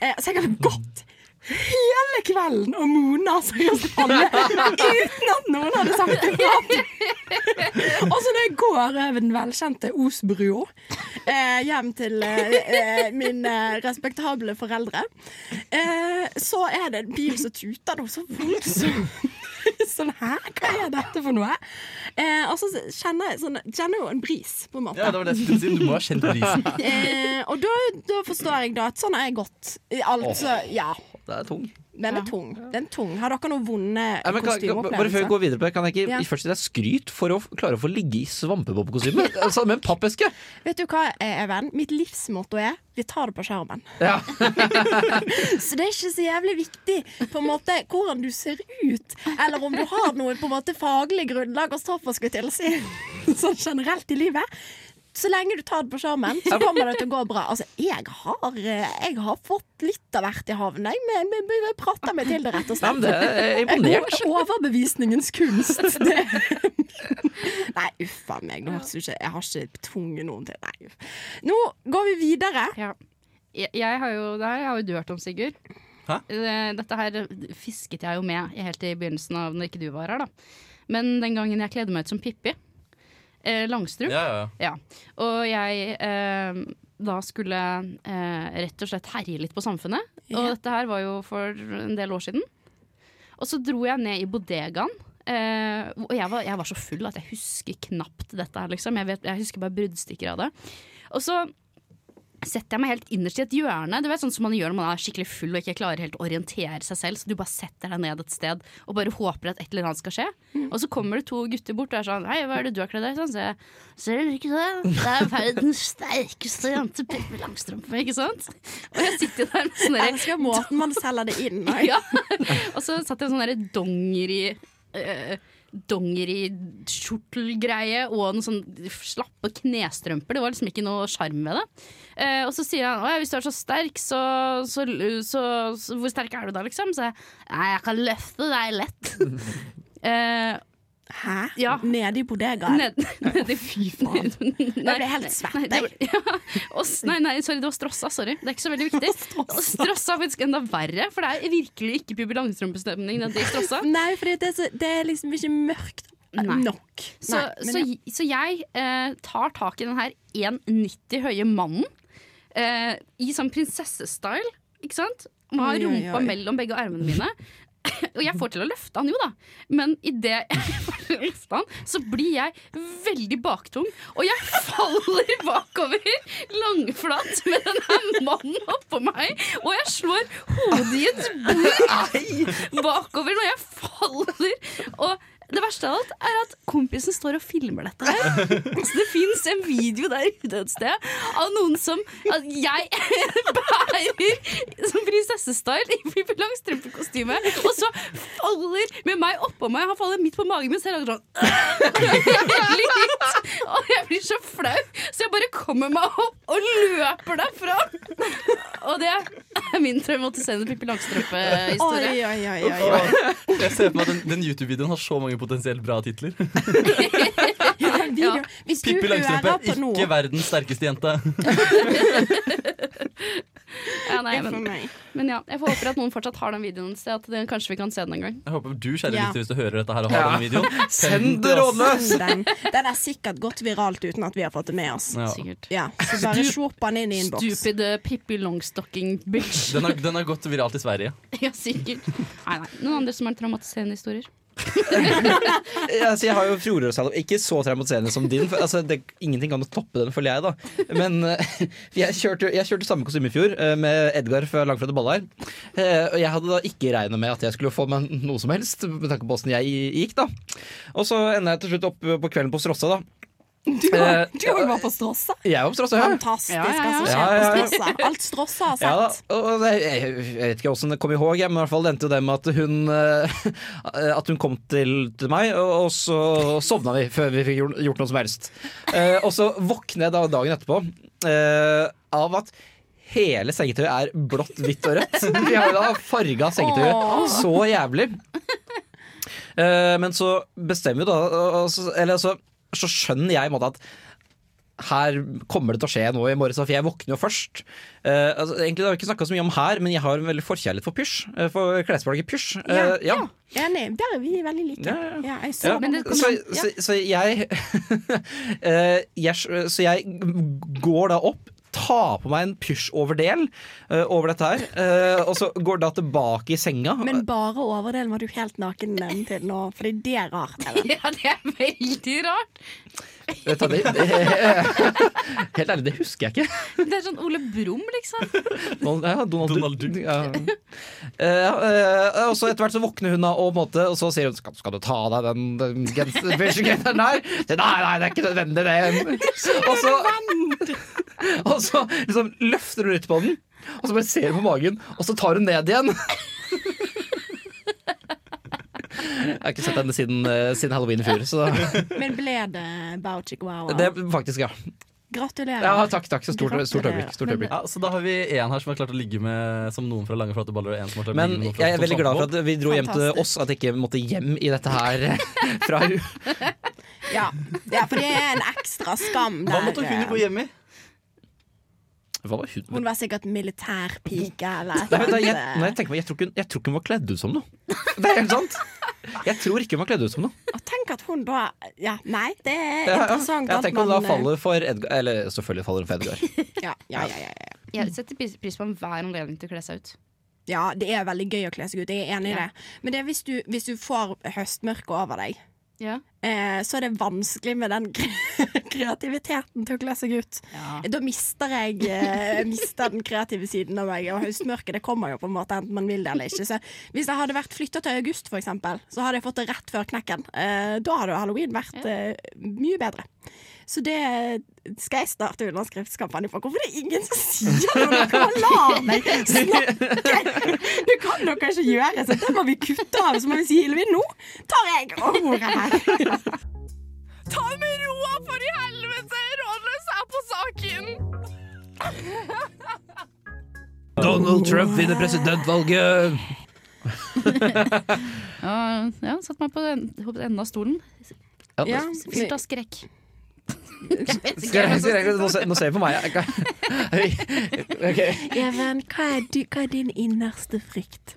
[SPEAKER 5] Eh, så jeg hadde gått hele kvelden og mona seriøst alle uten at noen hadde sagt ifra. Og så når jeg går over den velkjente Osbrua eh, hjem til eh, eh, mine respektable foreldre, eh, så er det en bil som tuter noe så voldsomt. Sånn, hæ, hva er dette for noe? Eh, og så kjenner jeg sånn, kjenner jo en bris, på en måte.
[SPEAKER 1] Ja, det var det jeg skulle si. Du må ha kjent prisen.
[SPEAKER 5] eh, og da, da forstår jeg da at sånn har jeg gått. i Alt, så, ja.
[SPEAKER 4] Det er tung.
[SPEAKER 5] Den
[SPEAKER 3] Ja.
[SPEAKER 5] er tung. Den er tung. Har dere noen vonde
[SPEAKER 4] Ja, men kan, kan- bare før vi
[SPEAKER 5] kostymeopplevelser?
[SPEAKER 4] går videre på det, kan jeg ikke
[SPEAKER 5] Ja.
[SPEAKER 4] først gi deg skryt for å f- klare å få ligge i svampebobkostyme? Altså, med en pappeske!
[SPEAKER 5] Vet du hva, Even? Mitt livsmotto er 'vi tar det på skjermen'.
[SPEAKER 4] Ja.
[SPEAKER 5] Så det er ikke så jævlig viktig på en måte hvordan du ser ut, eller om du har noe på en måte faglig grunnlag å stå for, skulle jeg til å si, sånn generelt i livet. Så lenge du tar det på skjermen, så kommer det til å gå bra. Altså, jeg har, eh, jeg har fått litt av hvert i havn. Jeg, men- men- men jeg prater meg til det, rett og
[SPEAKER 4] Nei,
[SPEAKER 5] slett.
[SPEAKER 4] men det er
[SPEAKER 5] Jeg
[SPEAKER 4] imponert.
[SPEAKER 5] går overbevisningens kunst. Det. Nei, uff a meg. Nå hørtes det ikke Jeg har ikke tvunget noen til Nei, uff. Nå går vi videre.
[SPEAKER 3] Ja. Jeg, jeg har jo, det her har jo du hørt om, Sigurd.
[SPEAKER 1] Hæ?
[SPEAKER 3] Eh, Dette her fisket jeg jo med helt i begynnelsen av når ikke du var her. da. Men den gangen jeg kledde meg ut som Pippi eh, Langstrup,
[SPEAKER 1] Ja, ja.
[SPEAKER 3] Ja. Og jeg eh, da skulle eh, rett og slett herje litt på samfunnet. Og
[SPEAKER 5] Ja.
[SPEAKER 3] dette her var jo for en del år siden. Og så dro jeg ned i bodegaen. eh, og jeg var, jeg var så full at jeg husker knapt dette her, liksom. Jeg, vet, jeg husker bare bruddstykker av det. Og så setter jeg meg helt innerst i et hjørne. Du vet sånn som man gjør når man er skikkelig full og ikke klarer helt å orientere seg selv. Så du bare setter deg ned et sted og bare håper at et eller annet skal skje. Og så kommer det to gutter bort og er sånn Hei, hva er det du har kledd deg i?» sånn? Så jeg Ser dere ikke det? Det er verdens sterkeste jente Pippi Langstrømpe, ikke sant? Og jeg sitter der med sånn
[SPEAKER 5] Jeg
[SPEAKER 3] derre
[SPEAKER 5] elsker måten man selger det inn på.
[SPEAKER 3] ja. Og så satt jeg en sånn derre dongeri eh, Dongeri-skjortelgreie og noen sånn slappe knestrømper. Det var liksom ikke noe sjarm ved det. Eh, og så sier han at hvis du er så sterk, så, så, så, så Hvor sterk er du da, liksom? Så jeg Nei, jeg kan løfte deg lett. Eh,
[SPEAKER 5] Hæ?
[SPEAKER 3] Ja.
[SPEAKER 5] Nede i bodegaen?
[SPEAKER 3] Ned, nedi Fy faen. Jeg
[SPEAKER 5] ble helt svett,
[SPEAKER 3] Nei, det ble- ja. Og s- nei, nei, sorry, det var strossa. Sorry. Det er ikke så veldig viktig. Og strossa er faktisk enda verre, for det er virkelig ikke Pippi Langstrømpe-stemning. nedi Strossa.
[SPEAKER 5] Nei, for det, er så- det er liksom ikke mørkt
[SPEAKER 3] Nei.
[SPEAKER 5] nok.
[SPEAKER 3] Så,
[SPEAKER 5] Nei, men
[SPEAKER 3] så, så jeg eh, tar tak i den her 1,90 høye mannen eh, i sånn prinsessestyle, ikke sant? Må ha
[SPEAKER 5] Oi, oi,
[SPEAKER 3] rumpa
[SPEAKER 5] oi.
[SPEAKER 3] mellom begge armene mine. Og jeg får til å løfte han jo, da, men idet jeg får til å løfte han, så blir jeg veldig baktung. Og jeg faller bakover langflat med den her mannen oppå meg, og jeg slår hodet i et bord bakover når jeg faller. Og det verste av alt er at kompisen står og filmer dette her. Så det fins en video der ute et sted av noen som at jeg bærer som prinsessestyle i Pippi Langstrømpe-kostyme, og så faller med meg oppå meg. Han faller midt på magen min, så jeg lager sånn litt, Og jeg blir så flau, så jeg bare kommer meg opp og løper derfra. Og det er min traumatiserende Pippi Langstrømpe-historie.
[SPEAKER 5] Oi, oi, oi, oi, oi.
[SPEAKER 1] Jeg ser for meg at den, den YouTube-videoen har så mange potensielt bra titler.
[SPEAKER 5] Den videoen- Hvis du
[SPEAKER 1] Pippi
[SPEAKER 5] hører
[SPEAKER 1] Langstrømpe,
[SPEAKER 5] på nå
[SPEAKER 1] ikke verdens sterkeste jente.
[SPEAKER 3] Ja, nei,
[SPEAKER 5] for
[SPEAKER 3] men,
[SPEAKER 5] meg.
[SPEAKER 3] men ja, jeg håper at noen fortsatt har den videoen et sted. At det, kanskje vi kan se den en gang.
[SPEAKER 1] Jeg håper du, kjære
[SPEAKER 5] Ja.
[SPEAKER 1] lytter, hvis du hører dette her og har
[SPEAKER 4] Ja.
[SPEAKER 1] denne videoen.
[SPEAKER 4] Send det
[SPEAKER 1] til oss.
[SPEAKER 4] rådløs!
[SPEAKER 5] Den, den er sikkert gått viralt uten at vi har fått det med oss.
[SPEAKER 1] Ja.
[SPEAKER 3] Sikkert.
[SPEAKER 5] Ja, så bare swap den inn i innboks.
[SPEAKER 3] Stupid eh, Pippi Longstocking bitch.
[SPEAKER 1] Den har, den har gått viralt i Sverige.
[SPEAKER 3] ja, sikkert. Nei, nei. Noen andre som har traumatiserende historier?
[SPEAKER 4] Ja, altså, jeg har jo Fjorårsalv. Ikke så traumatiserende som din. For, altså, det, ingenting kan jo toppe den, føler jeg. da Men eh, jeg, kjørte, jeg kjørte samme kostyme i fjor, eh, med Edgar fra Langfred og Ballar. Eh, og jeg hadde da ikke regna med at jeg skulle få meg noe som helst, med tanke på åssen jeg gikk. da Og så ender jeg til slutt opp på kvelden på Strossa, da.
[SPEAKER 5] Du har
[SPEAKER 4] har-
[SPEAKER 5] jo vært på Strossa.
[SPEAKER 4] Jeg var på Strossa, ja.
[SPEAKER 5] Fantastisk,
[SPEAKER 3] Ja, ja, ja.
[SPEAKER 5] altså.
[SPEAKER 4] Eh, Ja, ja, ja.
[SPEAKER 5] På Strossa. Alt Strossa har
[SPEAKER 4] Ja, da,
[SPEAKER 5] sett.
[SPEAKER 4] og og det, jeg, jeg vet ikke hvordan det kom i håp, men i hvert fall det endte jo det med at hun eh, At hun kom til, til meg, og, og så sovna vi før vi fikk gjort, gjort noe som helst. Eh, og så våkner jeg da dagen etterpå eh, av at hele sengetøyet er blått, hvitt og rødt. Vi har jo da farga
[SPEAKER 5] Åh.
[SPEAKER 4] sengetøyet så jævlig. Eh, men så bestemmer jo da og- og så- Eller så, så skjønner jeg i en måte at her kommer det til å skje noe i morgen, for jeg våkner jo først. Eh, altså, egentlig det har vi ikke snakka så mye om her, men jeg har en veldig forkjærlighet for pysj. eh, for klesplagget pysj.
[SPEAKER 5] Ja,
[SPEAKER 4] Eh, ja.
[SPEAKER 5] Enig. Der er vi veldig like.
[SPEAKER 4] Ja, ja.
[SPEAKER 5] Ja, jeg
[SPEAKER 4] Ja,
[SPEAKER 5] så
[SPEAKER 3] Men
[SPEAKER 5] den.
[SPEAKER 3] det
[SPEAKER 4] så,
[SPEAKER 3] kommer-
[SPEAKER 4] så, så jeg, eh, jeg Så jeg går da opp, ta på meg en pysj-overdel eh, over dette her. eh, og så går da tilbake i senga.
[SPEAKER 5] Men bare overdelen var du helt naken den til nå, fordi det er rart. Ellen.
[SPEAKER 3] Ja, det er veldig rart.
[SPEAKER 4] Vet du, det, det, helt ærlig, det husker jeg ikke.
[SPEAKER 3] Det er sånn Ole Brumm, liksom.
[SPEAKER 4] Donald, ja, Donald,
[SPEAKER 1] Donald Duck.
[SPEAKER 4] Ja. Eh, eh, og så etter hvert så våkner hun da, og, på en måte, og så sier hun skal, skal du ta av deg den, den genser- pysjgenseren der? Så, Nei, nei, det er ikke nødvendig, det. Og så, og så liksom løfter hun litt på den, og så bare ser hun på magen, og så tar hun ned igjen. Jeg har ikke sett henne siden, eh, siden halloween i fjor. Så
[SPEAKER 5] Men ble det Bauchik Wow?
[SPEAKER 4] det faktisk, ja.
[SPEAKER 5] Gratulerer.
[SPEAKER 4] ja. Takk, takk. Så stort, stort øyeblikk. Stort øyeblikk.
[SPEAKER 1] Ja, så da har vi en her som har klart å ligge med Som noen fra Lange flate baller og en som har klart å
[SPEAKER 4] Men
[SPEAKER 1] ligge med noen fra
[SPEAKER 4] jeg er
[SPEAKER 1] Tom
[SPEAKER 4] veldig glad for
[SPEAKER 1] Sandvold.
[SPEAKER 4] at vi dro hjem til
[SPEAKER 5] Fantastisk.
[SPEAKER 4] oss, at jeg ikke måtte hjem i dette her fra hu-
[SPEAKER 5] Ja. ja, for det er en ekstra skam der.
[SPEAKER 1] Hva måtte hun gå hjem i?
[SPEAKER 4] Hva var hun?
[SPEAKER 5] Hun var sikkert militærpike eller et
[SPEAKER 4] Nei, men da,
[SPEAKER 5] eller
[SPEAKER 4] jeg,
[SPEAKER 5] annet.
[SPEAKER 4] nei, jeg, tenker meg, jeg, tror ikke, hun- jeg tror ikke hun var kledd ut som noe. Det er helt sant. Jeg tror ikke hun var kledd ut som noe.
[SPEAKER 5] Og tenk at hun da Ja, nei, det er
[SPEAKER 4] Ja, ja.
[SPEAKER 5] interessant.
[SPEAKER 4] Jeg
[SPEAKER 5] at
[SPEAKER 4] tenker hun da
[SPEAKER 5] man, eh,
[SPEAKER 4] faller for Edgar. Eller selvfølgelig faller hun for Edgar.
[SPEAKER 5] Ja, ja, ja, ja, ja.
[SPEAKER 3] Jeg setter pris pris på enhver anledning til å kle seg ut.
[SPEAKER 5] ja, det er veldig gøy å kle seg ut. Jeg er enig
[SPEAKER 3] Ja.
[SPEAKER 5] i det. Men det er hvis du, hvis du får høstmørket over deg,
[SPEAKER 3] Ja.
[SPEAKER 5] eh, så er det vanskelig med den kreativiteten til å kle seg ut.
[SPEAKER 3] Ja.
[SPEAKER 5] Da mister jeg eh, mister den kreative siden av meg. Og høstmørket det kommer jo på en måte enten man vil det eller ikke. Så hvis jeg hadde vært flytta til august, for eksempel, så hadde jeg fått det rett før knekken. Eh, da hadde jo halloween vært eh, mye bedre. Så det skal jeg starte underskriftskampanje for. Hvorfor er det ingen som sier noe? Dere bare lar meg snakke! Det kan dere ikke gjøre, så det må vi kutte av. Så må vi si Hilvin, nå tar jeg ordet her. Ta med roa, for i helvete! Rådløs er på saken!
[SPEAKER 4] Donald Trump vinner presidentvalget!
[SPEAKER 3] Ja, ja, satt meg på den- på enden av stolen.
[SPEAKER 4] Ja,
[SPEAKER 5] Ja.
[SPEAKER 4] nå-
[SPEAKER 3] Fylt av skrekk.
[SPEAKER 4] Skal jeg- skal jeg- nå se- Nå ser jeg på meg. Jeg kan- Ok.
[SPEAKER 5] Even, hva er, du, hva er din innerste frykt?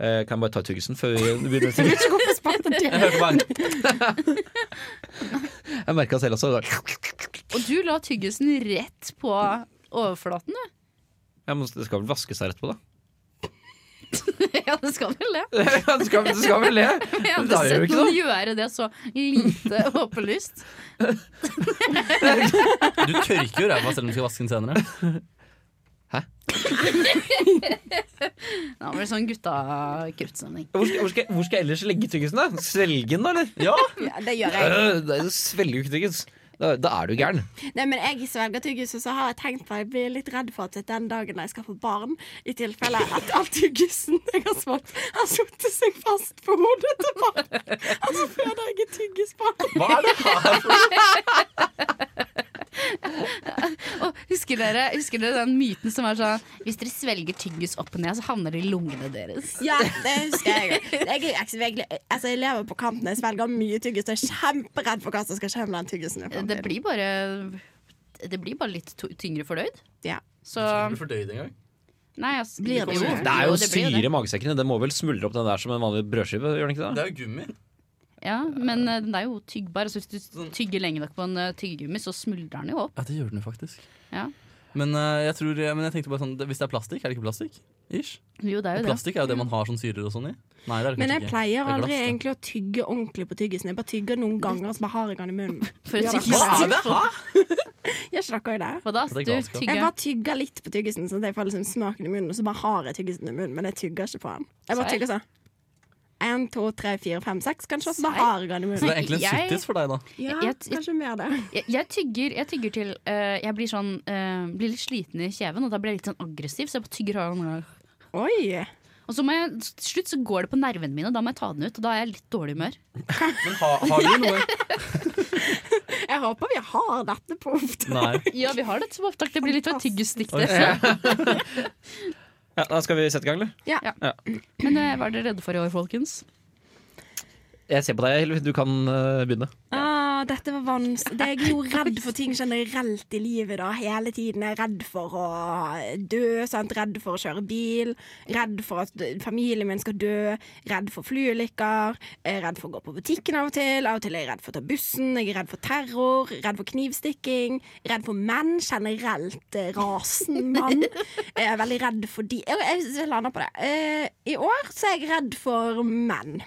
[SPEAKER 4] Eh, Kan jeg bare ta tyggisen før vi begynner?
[SPEAKER 5] Ikke hvorfor sparte det.
[SPEAKER 1] Jeg hørte bare en
[SPEAKER 4] Jeg merka selv også.
[SPEAKER 3] Og du la tyggisen rett på overflaten, du.
[SPEAKER 4] Jeg må, det skal vel vaskes her etterpå, da?
[SPEAKER 3] Ja, det skal vel det.
[SPEAKER 4] Ja, du skal, du skal vel le?
[SPEAKER 3] Jeg
[SPEAKER 4] Men
[SPEAKER 3] hadde
[SPEAKER 4] det er jo
[SPEAKER 3] sett
[SPEAKER 4] ikke sånn.
[SPEAKER 3] noen
[SPEAKER 4] noe.
[SPEAKER 3] gjøre det så lite åpenlyst.
[SPEAKER 1] Du tørker jo ræva selv om du skal vaske den senere.
[SPEAKER 3] Nå var det sånn gutta-kruttsending.
[SPEAKER 4] Hvor skal, hvor, skal, hvor skal jeg ellers legge tyggisen, da? Svelge den, da, eller?
[SPEAKER 1] Ja,
[SPEAKER 5] Ja, det gjør jeg.
[SPEAKER 4] Øh, Nei, du svelger jo ikke tyggis. Da, da er du gæren.
[SPEAKER 5] Nei, men jeg svelger tyggis, og så har jeg tenkt på Jeg blir litt redd for at den dagen jeg skal få barn, i tilfelle at all tyggisen jeg har svart, har satt seg fast på hodet til barn, og så føder jeg et tyggisbarn.
[SPEAKER 1] hva er det her?
[SPEAKER 3] Og husker dere, husker dere den myten som var sånn Hvis dere svelger tyggis opp og ned, så havner det i lungene deres.
[SPEAKER 5] Ja, det husker jeg. Jeg, er jo ikke- jeg, altså, jeg lever på kanten, jeg svelger mye tyggis, og jeg er kjemperedd for hva som skal skje med den tyggisen. i
[SPEAKER 3] Det
[SPEAKER 5] fremtiden.
[SPEAKER 3] blir bare, det blir bare litt to- tyngre fordøyd.
[SPEAKER 5] Ja.
[SPEAKER 3] Så
[SPEAKER 1] Du fordøyd en gang.
[SPEAKER 3] Nei, altså,
[SPEAKER 5] Blir det
[SPEAKER 3] jo,
[SPEAKER 5] sånn?
[SPEAKER 4] Det er jo
[SPEAKER 3] det blir
[SPEAKER 4] syre i magesekkene. Det må vel smuldre opp den der som en vanlig brødskive? gjør den ikke det?
[SPEAKER 1] Det er jo gummi.
[SPEAKER 3] Ja, men eh, den er jo tyggbar. Altså, hvis du tygger lenge nok på en eh, tyggegummi, så smuldrer den jo opp.
[SPEAKER 1] Ja, det gjør den jo faktisk.
[SPEAKER 3] Ja.
[SPEAKER 1] Men, eh, jeg tror, men jeg tenkte bare sånn, det- hvis det er plastikk, er det ikke plastikk? Ish.
[SPEAKER 3] Jo, det Mm. er jo det.
[SPEAKER 1] Plastikk er jo det man har sånn syrer og sånn i. Nei, det er det
[SPEAKER 5] Men
[SPEAKER 1] kanskje
[SPEAKER 5] jeg
[SPEAKER 1] ikke.
[SPEAKER 5] pleier
[SPEAKER 1] Det er
[SPEAKER 5] aldri
[SPEAKER 1] glass, da.
[SPEAKER 5] egentlig å tygge ordentlig på tyggisen. Jeg bare tygger noen ganger, og så bare har jeg den i munnen.
[SPEAKER 3] For et
[SPEAKER 5] Ja,
[SPEAKER 3] tyggis.
[SPEAKER 1] Hva er det her?
[SPEAKER 5] Gjør ikke dere det?
[SPEAKER 3] Hva da?
[SPEAKER 1] Det er
[SPEAKER 3] Du
[SPEAKER 1] galskap.
[SPEAKER 5] Jeg
[SPEAKER 3] tygger
[SPEAKER 5] bare tygger litt på tyggisen, så jeg får liksom smaken i munnen. Og så bare har jeg tyggisen i munnen, men jeg tygger ikke på den. Jeg bare
[SPEAKER 3] Seig.
[SPEAKER 5] tygger sånn. Én, to, tre, fire, fem, seks, kanskje. Og så bare
[SPEAKER 3] Seig.
[SPEAKER 5] har jeg den i
[SPEAKER 1] Så det
[SPEAKER 5] munnen.
[SPEAKER 1] er egentlig en
[SPEAKER 3] Jeg-
[SPEAKER 1] suttis for deg, da.
[SPEAKER 5] Ja,
[SPEAKER 3] Jeg-
[SPEAKER 5] kanskje mer det.
[SPEAKER 3] jeg, jeg, tygger, jeg tygger til eh, Jeg blir sånn eh, Blir litt sliten i kjeven, og da blir jeg litt sånn aggressiv. Så jeg bare tygger hardere.
[SPEAKER 5] Oi!
[SPEAKER 3] Og så må jeg, til slutt så går det på nervene mine, og da må jeg ta den ut. Og da er jeg litt dårlig humør.
[SPEAKER 1] Men har, har du noe
[SPEAKER 5] Jeg håper vi har dette på ofte.
[SPEAKER 1] Nei.
[SPEAKER 3] Ja, vi har det som opptak. Det blir litt av et tyggestikk.
[SPEAKER 1] Oi.
[SPEAKER 3] det.
[SPEAKER 4] Ja, da skal vi sette i gang, eller?
[SPEAKER 3] Men eh, hva er dere redde for i år, folkens?
[SPEAKER 1] eh,
[SPEAKER 4] Jeg ser på deg, Hilvi. Du kan øh, begynne.
[SPEAKER 5] Ah, dette var vanskelig Det- Jeg er jo redd for ting generelt i livet da, hele tiden. Jeg er redd for å dø, sant? redd for å kjøre bil, redd for at d- familien min skal dø, redd for flyulykker, jeg er redd for å gå på butikken av og til, av og til er jeg redd for å ta bussen, jeg er redd for terror, redd for knivstikking, redd for menn generelt, eh, rasen mann. Jeg er veldig redd for de Jeg, jeg, jeg lander på det. Eh, I år så er jeg redd for menn.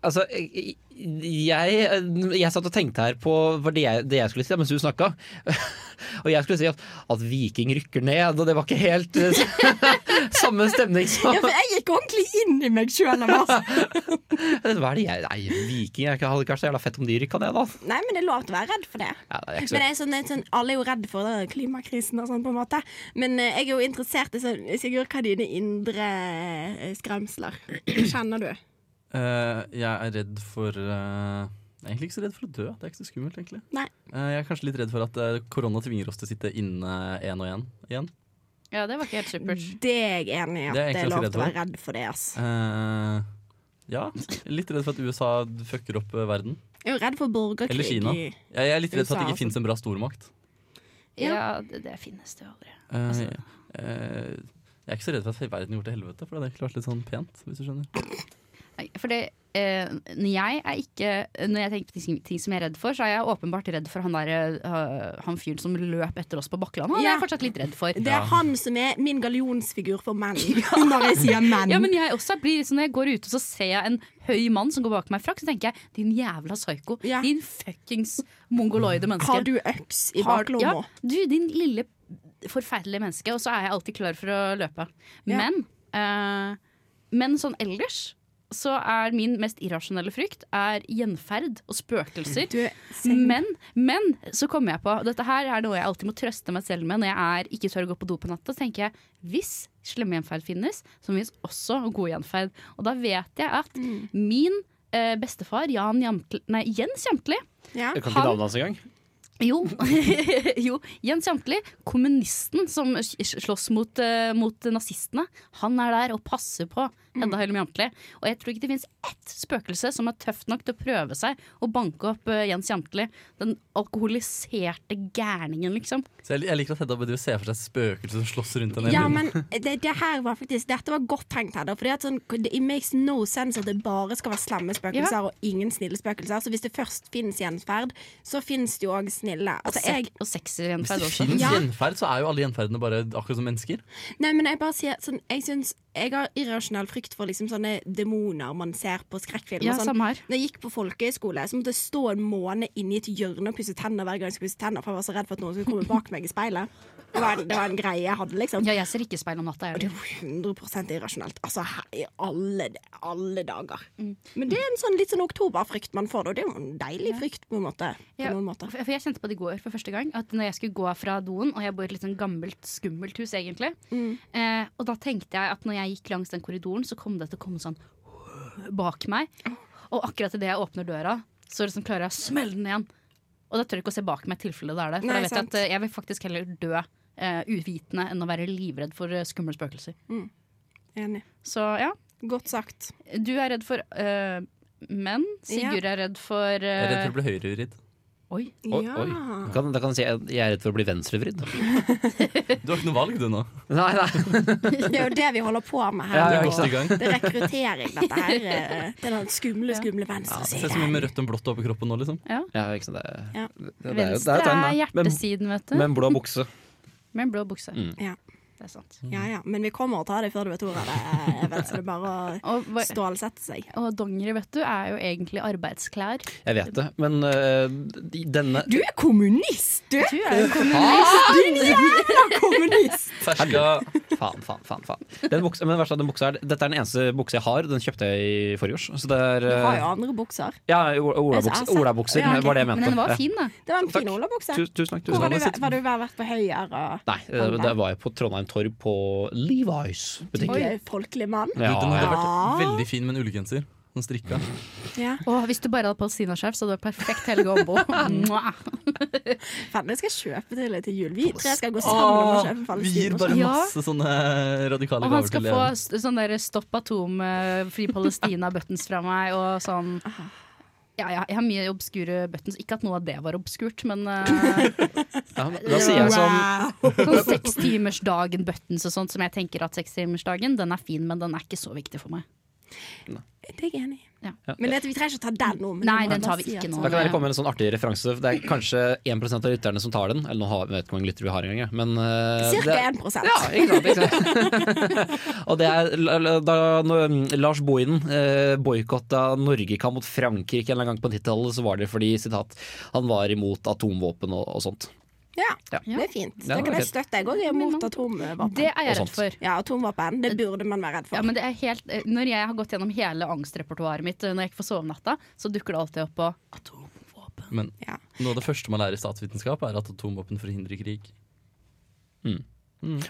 [SPEAKER 4] Altså, jeg, jeg, jeg satt og tenkte her på for det, jeg, det jeg skulle si da, mens du snakka. og jeg skulle si at, at Viking rykker ned, og det var ikke helt eh, samme stemning som
[SPEAKER 5] Ja, for jeg gikk ordentlig inn i meg sjøl. Nei,
[SPEAKER 4] Hva er det jeg Nei, Viking jeg hadde ikke vært så jævla fett om de rykka ned, da.
[SPEAKER 5] men det er lov til å være redd for det.
[SPEAKER 4] Ja, det er ikke
[SPEAKER 5] Men
[SPEAKER 4] så...
[SPEAKER 5] det er sånn, det er sånn, Alle er jo redd for det, klimakrisen og sånn, på en måte. Men eh, jeg er jo interessert i sånn, Sigurd, hva er dine indre eh, skremsler? Hva kjenner du?
[SPEAKER 1] Eh, jeg er redd for eh, Jeg er egentlig ikke så redd for å dø. Det er ikke så skummelt, egentlig.
[SPEAKER 5] Nei.
[SPEAKER 1] Eh, jeg er kanskje litt redd for at eh, korona tvinger oss til å sitte inne én og én igjen.
[SPEAKER 3] Ja, det var ikke helt supert.
[SPEAKER 5] Det er jeg enig i. at
[SPEAKER 1] Det
[SPEAKER 5] Det
[SPEAKER 1] er jeg
[SPEAKER 5] er,
[SPEAKER 1] ikke så
[SPEAKER 5] lov
[SPEAKER 1] redd
[SPEAKER 5] til å
[SPEAKER 1] for.
[SPEAKER 5] være redd for det. ass
[SPEAKER 1] Eh, ja. Litt redd for at USA fucker opp eh, verden.
[SPEAKER 5] Jeg er jo redd for borgerkrig.
[SPEAKER 1] Eller Kina.
[SPEAKER 5] i-
[SPEAKER 1] Jeg, jeg er litt redd for at det
[SPEAKER 5] USA,
[SPEAKER 1] ikke
[SPEAKER 5] altså.
[SPEAKER 1] fins en bra stormakt.
[SPEAKER 3] Ja,
[SPEAKER 5] Ja.
[SPEAKER 3] det, det finnes det jo aldri.
[SPEAKER 1] Eh, eh, jeg er ikke så redd for at verden går til helvete, for det hadde egentlig vært litt sånn pent. hvis du skjønner
[SPEAKER 3] Nei, Fordi eh, når jeg er ikke Når jeg tenker på ting, ting som jeg er redd for, så er jeg åpenbart redd for han der, eh, Han fyren som løp etter oss på Bakkeland. Han er
[SPEAKER 5] Ja.
[SPEAKER 3] jeg fortsatt litt redd for.
[SPEAKER 5] Det er han som er min gallionsfigur for menn, når jeg sier menn.
[SPEAKER 3] Ja, men jeg også blir liksom, Når jeg går ute og så ser jeg en høy mann som går bak meg i frakk, så tenker jeg din jævla psyko.
[SPEAKER 5] Ja.
[SPEAKER 3] Din fuckings mongoloide menneske.
[SPEAKER 5] Har du øks i
[SPEAKER 3] Har- Ja,
[SPEAKER 5] baklomma?
[SPEAKER 3] du, din lille forferdelige menneske. Og så er jeg alltid klar for å løpe.
[SPEAKER 5] Ja.
[SPEAKER 3] Men, eh, men sånn ellers så er min mest irrasjonelle frykt er gjenferd og spøkelser.
[SPEAKER 5] Du er seng-
[SPEAKER 3] Men, men så kommer jeg på Dette her er noe jeg alltid må trøste meg selv med når jeg er, ikke tør å gå på do på natta. Så tenker jeg hvis slemme gjenferd finnes, så finnes også god gjenferd. Og da vet jeg at
[SPEAKER 5] Mm.
[SPEAKER 3] min eh, bestefar Jan Jamtli, nei, Jens Jamtli
[SPEAKER 5] ja.
[SPEAKER 4] Jeg kan
[SPEAKER 3] han-
[SPEAKER 4] ikke navnet hans engang.
[SPEAKER 3] jo. jo. Jens Jamtli, kommunisten som s- slåss mot, eh, mot nazistene, han er der og passer på
[SPEAKER 5] Mm.
[SPEAKER 3] Hedda Høilum Jamtli. Og jeg tror ikke det fins ett spøkelse som er tøft nok til å prøve seg å banke opp eh, Jens Jamtli. Den alkoholiserte gærningen, liksom.
[SPEAKER 1] Så jeg, jeg liker at Hedda bedriver ser for seg spøkelser som slåss rundt henne.
[SPEAKER 5] Ja, men det, det her var faktisk Dette var godt tenkt, Hedda. Fordi at sånn, det- It makes no sense at det bare skal være slemme spøkelser og ingen snille spøkelser. Så hvis det først fins gjenferd, så fins det jo òg snille. Altså, jeg,
[SPEAKER 3] Sek- og sexy
[SPEAKER 1] Hvis
[SPEAKER 3] gjenferd
[SPEAKER 1] det
[SPEAKER 3] også.
[SPEAKER 1] finnes
[SPEAKER 5] Ja.
[SPEAKER 1] gjenferd, så er jo alle gjenferdene bare akkurat som mennesker.
[SPEAKER 5] nei, men jeg bare sier sånn Jeg syns jeg har irrasjonell frykt for liksom sånne demoner man ser på skrekkfilm.
[SPEAKER 3] Ja,
[SPEAKER 5] og sånn.
[SPEAKER 3] samme her.
[SPEAKER 5] Når jeg gikk på folkehøyskole, så måtte jeg stå en måned inni et hjørne og pusse tenner hver gang jeg skulle pusse tenner, for jeg var så redd for at noen skulle komme bak meg i speilet. Det var, en- det var en greie jeg hadde, liksom.
[SPEAKER 3] Ja, jeg ser ikke speil om natta.
[SPEAKER 5] Det
[SPEAKER 3] Jeg.
[SPEAKER 5] er jo 100 irrasjonelt. Altså, he- i alle, alle dager. Men det er en sånn litt sånn oktoberfrykt man får, da. Det er jo en deilig frykt, på en måte. På
[SPEAKER 3] Ja,
[SPEAKER 5] noen måter.
[SPEAKER 3] for for jeg kjente på det i går for første gang. At når jeg skulle gå fra doen, og jeg bor i et litt sånn gammelt, skummelt hus egentlig,
[SPEAKER 5] Mm.
[SPEAKER 3] eh, og da tenkte jeg at når jeg gikk langs den korridoren, så kom det til å komme sånn bak meg. Og akkurat idet jeg åpner døra, så liksom klarer jeg å smelle den igjen. Og da tør jeg ikke å se bak meg i tilfelle det er der. For
[SPEAKER 5] Nei,
[SPEAKER 3] da vet jeg
[SPEAKER 5] sant.
[SPEAKER 3] at eh, jeg vil faktisk heller dø eh, uvitende enn å være livredd for eh, skumle spøkelser.
[SPEAKER 5] Enig.
[SPEAKER 3] Så ja,
[SPEAKER 5] Godt sagt.
[SPEAKER 3] du er redd for eh, menn. Sigurd er redd for
[SPEAKER 1] Jeg er redd for å bli
[SPEAKER 3] eh,
[SPEAKER 1] høyrevridd.
[SPEAKER 3] Oi.
[SPEAKER 4] Oi,
[SPEAKER 5] ja.
[SPEAKER 4] oi. Da kan, da kan jeg si at jeg er redd for å bli venstrevridd.
[SPEAKER 1] Du har ikke noe valg, du nå.
[SPEAKER 4] Nei, nei.
[SPEAKER 5] Det er jo det vi holder på med her.
[SPEAKER 4] Ja,
[SPEAKER 1] Du
[SPEAKER 4] ja,
[SPEAKER 1] er
[SPEAKER 5] nå.
[SPEAKER 1] godt i gang.
[SPEAKER 5] Det er rekruttering, dette her. eh, Det er den skumle, skumle
[SPEAKER 1] Se så mye
[SPEAKER 5] venstresiden.
[SPEAKER 1] med rødt og blått over kroppen nå, liksom.
[SPEAKER 4] Ja, ikke sant, det,
[SPEAKER 5] Ja.
[SPEAKER 4] det, det, er jo- det
[SPEAKER 3] Venstre
[SPEAKER 4] er jo tegn,
[SPEAKER 3] er
[SPEAKER 4] da. Men-
[SPEAKER 3] hjertesiden, vet du.
[SPEAKER 4] Med en blå bukse. Mm.
[SPEAKER 3] Med en blå bukse.
[SPEAKER 5] Ja.
[SPEAKER 3] Det er sant.
[SPEAKER 5] Ja, ja. Men vi kommer og tar det før du vet ordet av det. Even, Så det er bare
[SPEAKER 3] Og,
[SPEAKER 5] å
[SPEAKER 3] hva-
[SPEAKER 5] stålsette seg.
[SPEAKER 3] og dongeri, vet du, er jo egentlig arbeidsklær.
[SPEAKER 4] Jeg vet det, men øh, denne
[SPEAKER 5] Du er kommunist, du!
[SPEAKER 3] Du er jo
[SPEAKER 5] kommunist!
[SPEAKER 1] Ferska
[SPEAKER 4] Faen, faen, faen. faen. Den buksa, men det verste av den buksa er, Dette er den eneste buksa jeg har. Den kjøpte jeg i forrige års. Så det er
[SPEAKER 5] Du har
[SPEAKER 4] øh,
[SPEAKER 5] jo andre bukser.
[SPEAKER 4] Ja, o- olabukser.
[SPEAKER 5] Altså, altså.
[SPEAKER 4] Olabukser
[SPEAKER 5] Ja, ok.
[SPEAKER 4] var det jeg
[SPEAKER 3] Men
[SPEAKER 4] mente.
[SPEAKER 3] den var
[SPEAKER 4] Ja.
[SPEAKER 3] fin, da.
[SPEAKER 5] Det var en
[SPEAKER 4] Takk.
[SPEAKER 5] fin olabukse.
[SPEAKER 4] Tu- Tusen takk.
[SPEAKER 5] Hvor
[SPEAKER 4] Tusen
[SPEAKER 5] var du,
[SPEAKER 4] takk.
[SPEAKER 5] var du vært på Høyer og
[SPEAKER 4] Nei, øh, det var jeg på Trondheim Torv på Levi's butikk.
[SPEAKER 5] Oi, folkelig mann?
[SPEAKER 1] Du, Den hadde
[SPEAKER 4] Ja,
[SPEAKER 5] Ja.
[SPEAKER 1] vært veldig fin med en ullgenser. Sånn strikka.
[SPEAKER 5] Ja.
[SPEAKER 3] Å, hvis du bare hadde palestinaskjerf, så hadde det vært perfekt Helge Aabo. Mwah.
[SPEAKER 5] Faen, jeg skal kjøpe til deg til jul. Vi tre skal gå sammen om å kjøpe
[SPEAKER 1] Vi gir
[SPEAKER 5] palestinaskjerf.
[SPEAKER 1] bare
[SPEAKER 3] Ja.
[SPEAKER 1] masse sånne radikale
[SPEAKER 3] Og han
[SPEAKER 1] gaver
[SPEAKER 3] skal
[SPEAKER 1] til
[SPEAKER 3] få
[SPEAKER 1] eleven.
[SPEAKER 3] s- sånn der Stopp atom, eh, Fri Palestina-buttons fra meg og sånn. Ja, ja, jeg har mye obskure buttons. Ikke at noe av det var obskurt, men eh,
[SPEAKER 4] Ja, men da sier jeg som
[SPEAKER 3] sånn sekstimersdagen, buttons og sånt, som jeg tenker at sekstimersdagen, den er fin, men den er ikke så viktig for meg.
[SPEAKER 5] Det er jeg enig i.
[SPEAKER 3] Ja.
[SPEAKER 5] Men vet, du, vi trenger ikke å ta den nå. men
[SPEAKER 3] Nei,
[SPEAKER 5] vi må
[SPEAKER 3] den
[SPEAKER 5] bare
[SPEAKER 3] tar vi
[SPEAKER 5] si
[SPEAKER 3] ikke
[SPEAKER 5] at-
[SPEAKER 3] nå.
[SPEAKER 4] Da kan dere komme med en sånn artig referanse. Det er kanskje 1 av lytterne som tar den. Eller nå har, jeg vet ikke hvor mange lyttere vi har engang, jeg, men eh,
[SPEAKER 5] Cirka 1
[SPEAKER 4] det- Ja, ikke sant, ikke sant. Og det er la- la- da når Lars Bohinen eh, boikotta Norgekamp mot Frankrike en eller annen gang på 90-tallet, så var det fordi sitat, han var imot atomvåpen og, og sånt.
[SPEAKER 5] Ja,
[SPEAKER 4] Ja.
[SPEAKER 5] det er fint.
[SPEAKER 4] Ja,
[SPEAKER 5] Det kan jeg
[SPEAKER 4] ok.
[SPEAKER 5] støtte. Jeg òg er imot atomvåpen.
[SPEAKER 3] Det er jeg
[SPEAKER 4] Og
[SPEAKER 3] redd for.
[SPEAKER 5] Ja, atomvåpen. Det burde man være redd for.
[SPEAKER 3] Ja, men det er helt, eh, når jeg har gått gjennom hele angstrepertoaret mitt eh, når jeg ikke får sove om natta, så dukker det alltid opp på atomvåpen.
[SPEAKER 1] Men
[SPEAKER 5] Ja.
[SPEAKER 1] noe av det første man lærer i statsvitenskap, er at atomvåpen forhindrer krig.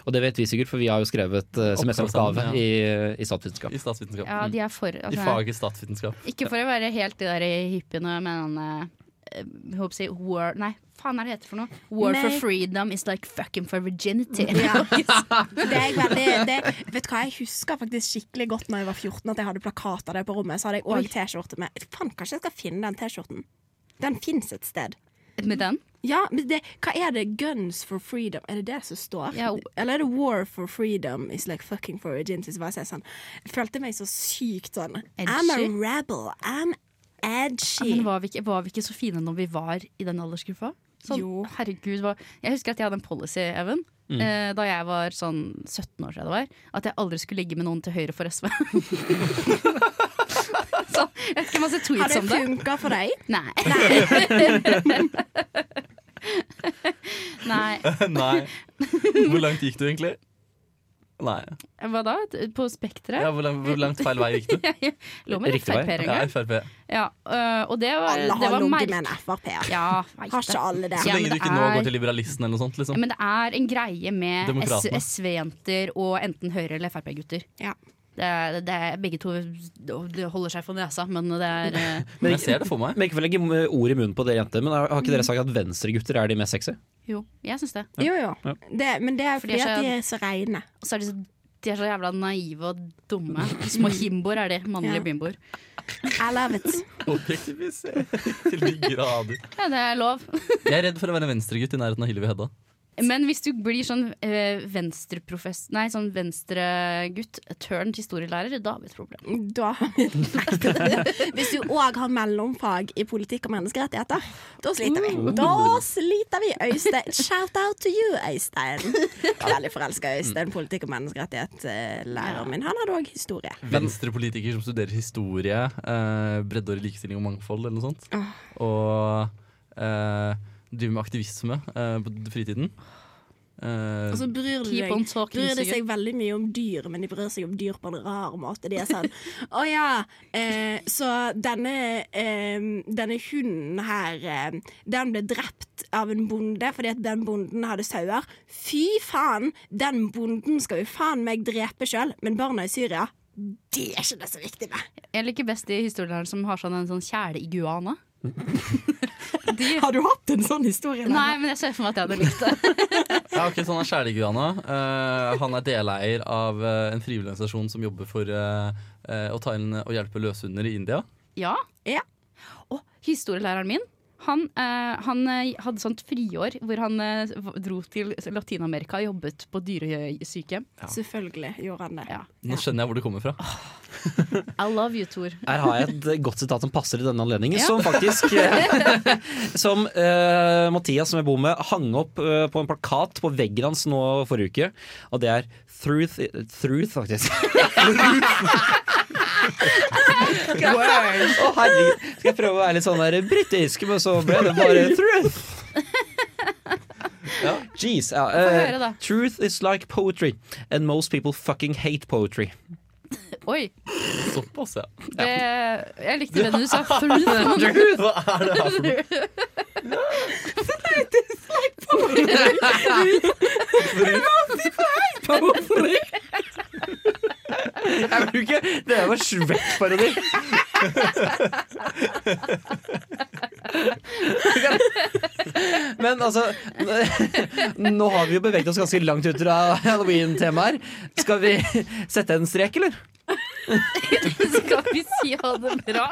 [SPEAKER 4] Og det vet vi sikkert, for vi har jo skrevet eh, semesteroppgave
[SPEAKER 1] Oppgave, ja.
[SPEAKER 4] i, i statsvitenskap.
[SPEAKER 1] I statsvitenskap.
[SPEAKER 3] Ja,
[SPEAKER 1] Mm.
[SPEAKER 3] de er for
[SPEAKER 1] I
[SPEAKER 3] altså,
[SPEAKER 1] faget statsvitenskap.
[SPEAKER 3] Ikke for å være helt de der hippiene, men eh, eh, jeg håper å si war Nei, faen er det heter for noe? War
[SPEAKER 5] Nei.
[SPEAKER 3] for freedom is like fucking for virginity.
[SPEAKER 5] Ja. Det er jeg veldig, det, vet du hva, jeg husker faktisk skikkelig godt Når jeg var 14 at jeg hadde plakat av det på rommet. Så hadde jeg òg T-skjorte med. Faen, kanskje jeg skal finne den T-skjorten. Den fins et sted.
[SPEAKER 3] Med den?
[SPEAKER 5] Ja, men det, Hva er det? Guns for freedom? Er det det som står?
[SPEAKER 3] Ja.
[SPEAKER 5] Eller er det War for freedom is like fucking for virginity? Så bare sier jeg sånn Jeg følte meg så sykt sånn I'm a
[SPEAKER 3] Edgy?
[SPEAKER 5] rebel. I'm
[SPEAKER 3] Ja,
[SPEAKER 5] edgy.
[SPEAKER 3] Men var vi, ikke, var vi ikke så fine når vi var i den aldersgruppa? Sånn,
[SPEAKER 5] Jo.
[SPEAKER 3] Herregud, hva, jeg husker at jeg hadde en policy, Even. Eh, da jeg var sånn 17 år, tror jeg det var. At jeg aldri skulle ligge med noen til høyre for SV. så, jeg vet ikke masse
[SPEAKER 5] Har
[SPEAKER 3] tweets
[SPEAKER 5] det
[SPEAKER 3] om sånn, det.
[SPEAKER 5] funka for deg?
[SPEAKER 3] Nei. Nei.
[SPEAKER 1] Nei. Hvor langt gikk du egentlig? Nei.
[SPEAKER 3] Hva da? På Spekteret?
[SPEAKER 1] Ja, hvor, langt, hvor langt feil vei gikk du?
[SPEAKER 3] Jeg lå med
[SPEAKER 4] Riktig vei.
[SPEAKER 3] Frp en
[SPEAKER 1] Ja,
[SPEAKER 3] gang.
[SPEAKER 1] Frp.
[SPEAKER 3] Ja, øh, og det var,
[SPEAKER 5] Alle
[SPEAKER 3] det
[SPEAKER 5] har
[SPEAKER 3] var
[SPEAKER 5] ligget
[SPEAKER 3] merkelig.
[SPEAKER 5] med en Frp-er.
[SPEAKER 3] Ja, vet
[SPEAKER 5] Har ikke
[SPEAKER 3] det.
[SPEAKER 5] alle det?
[SPEAKER 1] Så
[SPEAKER 3] Ja, men
[SPEAKER 1] lenge du
[SPEAKER 3] det
[SPEAKER 1] ikke nå
[SPEAKER 3] er-
[SPEAKER 1] går til liberalisten eller noe sånt, liksom.
[SPEAKER 3] Men det er en greie med S-
[SPEAKER 1] Demokratene.
[SPEAKER 3] SV-jenter og enten Høyre- eller Frp-gutter.
[SPEAKER 5] Ja.
[SPEAKER 3] Det, er- det, er- begge to det holder seg for nesa, men det er eh,
[SPEAKER 1] Men jeg ser det for meg.
[SPEAKER 4] Men ikke for å legge ord i munnen på dere jenter, men har ikke dere sagt at venstregutter er de mest sexy?
[SPEAKER 3] Jo, jeg syns det.
[SPEAKER 5] Jo, jo. Det, men det er fordi,
[SPEAKER 3] Fordi
[SPEAKER 5] at de
[SPEAKER 3] jeg-
[SPEAKER 5] er så reine.
[SPEAKER 3] Og så er de så, de er så jævla naive og dumme. Små himboer er de. Mannlige
[SPEAKER 5] Ja.
[SPEAKER 3] bimboer.
[SPEAKER 5] I love it.
[SPEAKER 1] Objektivisere til de grader.
[SPEAKER 3] Ja, det er lov.
[SPEAKER 1] Jeg er redd for å være en venstregutt i nærheten av Hillevi Hedda.
[SPEAKER 3] Men hvis du blir sånn eh, venstreprofess... Nei, sånn venstregutt, turn til historielærer, da har vi et problem.
[SPEAKER 5] Da har vi et ekte problem. Hvis du òg har mellomfag i politikk og menneskerettigheter, da sliter vi. Da sliter vi, Øystein. Shout out to you, Øystein. Jeg er veldig forelska i Øystein, politikk og menneskerettighet. eh, Læreren min. Han hadde òg historie.
[SPEAKER 1] Venstrepolitiker som studerer historie, eh, breddeår i likestilling og mangfold eller noe sånt. Og eh, driver med aktivisme eh, på fritiden. Eh,
[SPEAKER 5] Og så bryr de
[SPEAKER 3] Keep
[SPEAKER 5] seg,
[SPEAKER 3] on talking,
[SPEAKER 5] bryr de
[SPEAKER 3] Sigurd.
[SPEAKER 5] seg veldig mye om dyr, men de bryr seg om dyr på en rar måte. De er sånn Å ja, eh, så denne, eh, denne hunden her, eh, den ble drept av en bonde fordi at den bonden hadde sauer. Fy faen, den bonden skal jo faen meg drepe sjøl, men barna i Syria, det er ikke det som er viktig med.
[SPEAKER 3] Jeg liker best de historielærerne som har sånn en sånn kjæleiguana.
[SPEAKER 5] Har du hatt en sånn historie? Lena?
[SPEAKER 3] Nei, men jeg ser for meg at jeg hadde likt det.
[SPEAKER 1] Ja, ok, så Han er kjæleguana. Eh, han er deleier av eh, en frivillig organisasjon som jobber for eh, eh, å ta inn og hjelpe løshunder i India.
[SPEAKER 3] Ja.
[SPEAKER 5] Ja.
[SPEAKER 3] Og historielæreren min han, eh, han eh, hadde sånt friår hvor han eh, v- dro til Latin-Amerika og jobbet på dyresykehjem.
[SPEAKER 5] Selvfølgelig gjorde han det.
[SPEAKER 3] Ja.
[SPEAKER 1] Nå skjønner jeg hvor det kommer fra.
[SPEAKER 3] I love you, Tor.
[SPEAKER 4] Her har jeg et godt sitat som passer i denne anledningen.
[SPEAKER 3] Ja.
[SPEAKER 4] Som faktisk Som eh, Mathias, som jeg bor med, hang opp eh, på en plakat på veggen hans nå forrige uke. Og det er Truth, truth faktisk. Word. Å, herregud. Skal jeg prøve å være litt sånn der britisk, men så ble det bare truth. Ja. Jeez. Ja. eh,
[SPEAKER 3] høre, da.
[SPEAKER 4] truth is like poetry, and most people fucking hate poetry.
[SPEAKER 3] Oi.
[SPEAKER 1] Såpass, ja.
[SPEAKER 3] Det, jeg likte det du sa. Fruit.
[SPEAKER 1] Hva er det her for noe?
[SPEAKER 4] Jeg bruker Det er jo en Shrek-parodi. Men altså Nå har vi jo beveget oss ganske langt ut fra halloween-temaer. Skal vi sette en strek, eller?
[SPEAKER 3] Skal vi si ha det bra?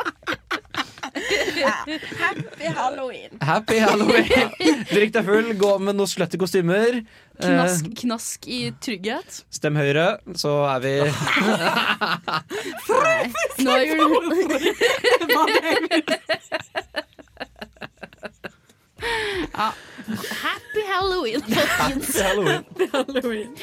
[SPEAKER 5] Happy halloween.
[SPEAKER 4] Happy halloween! Drikk deg full, gå med noen slutty kostymer. Eh,
[SPEAKER 3] Knask, knask i trygghet.
[SPEAKER 4] stem Høyre, så er vi
[SPEAKER 3] Nå er jul... Happy Halloween, folkens.
[SPEAKER 5] Halloween.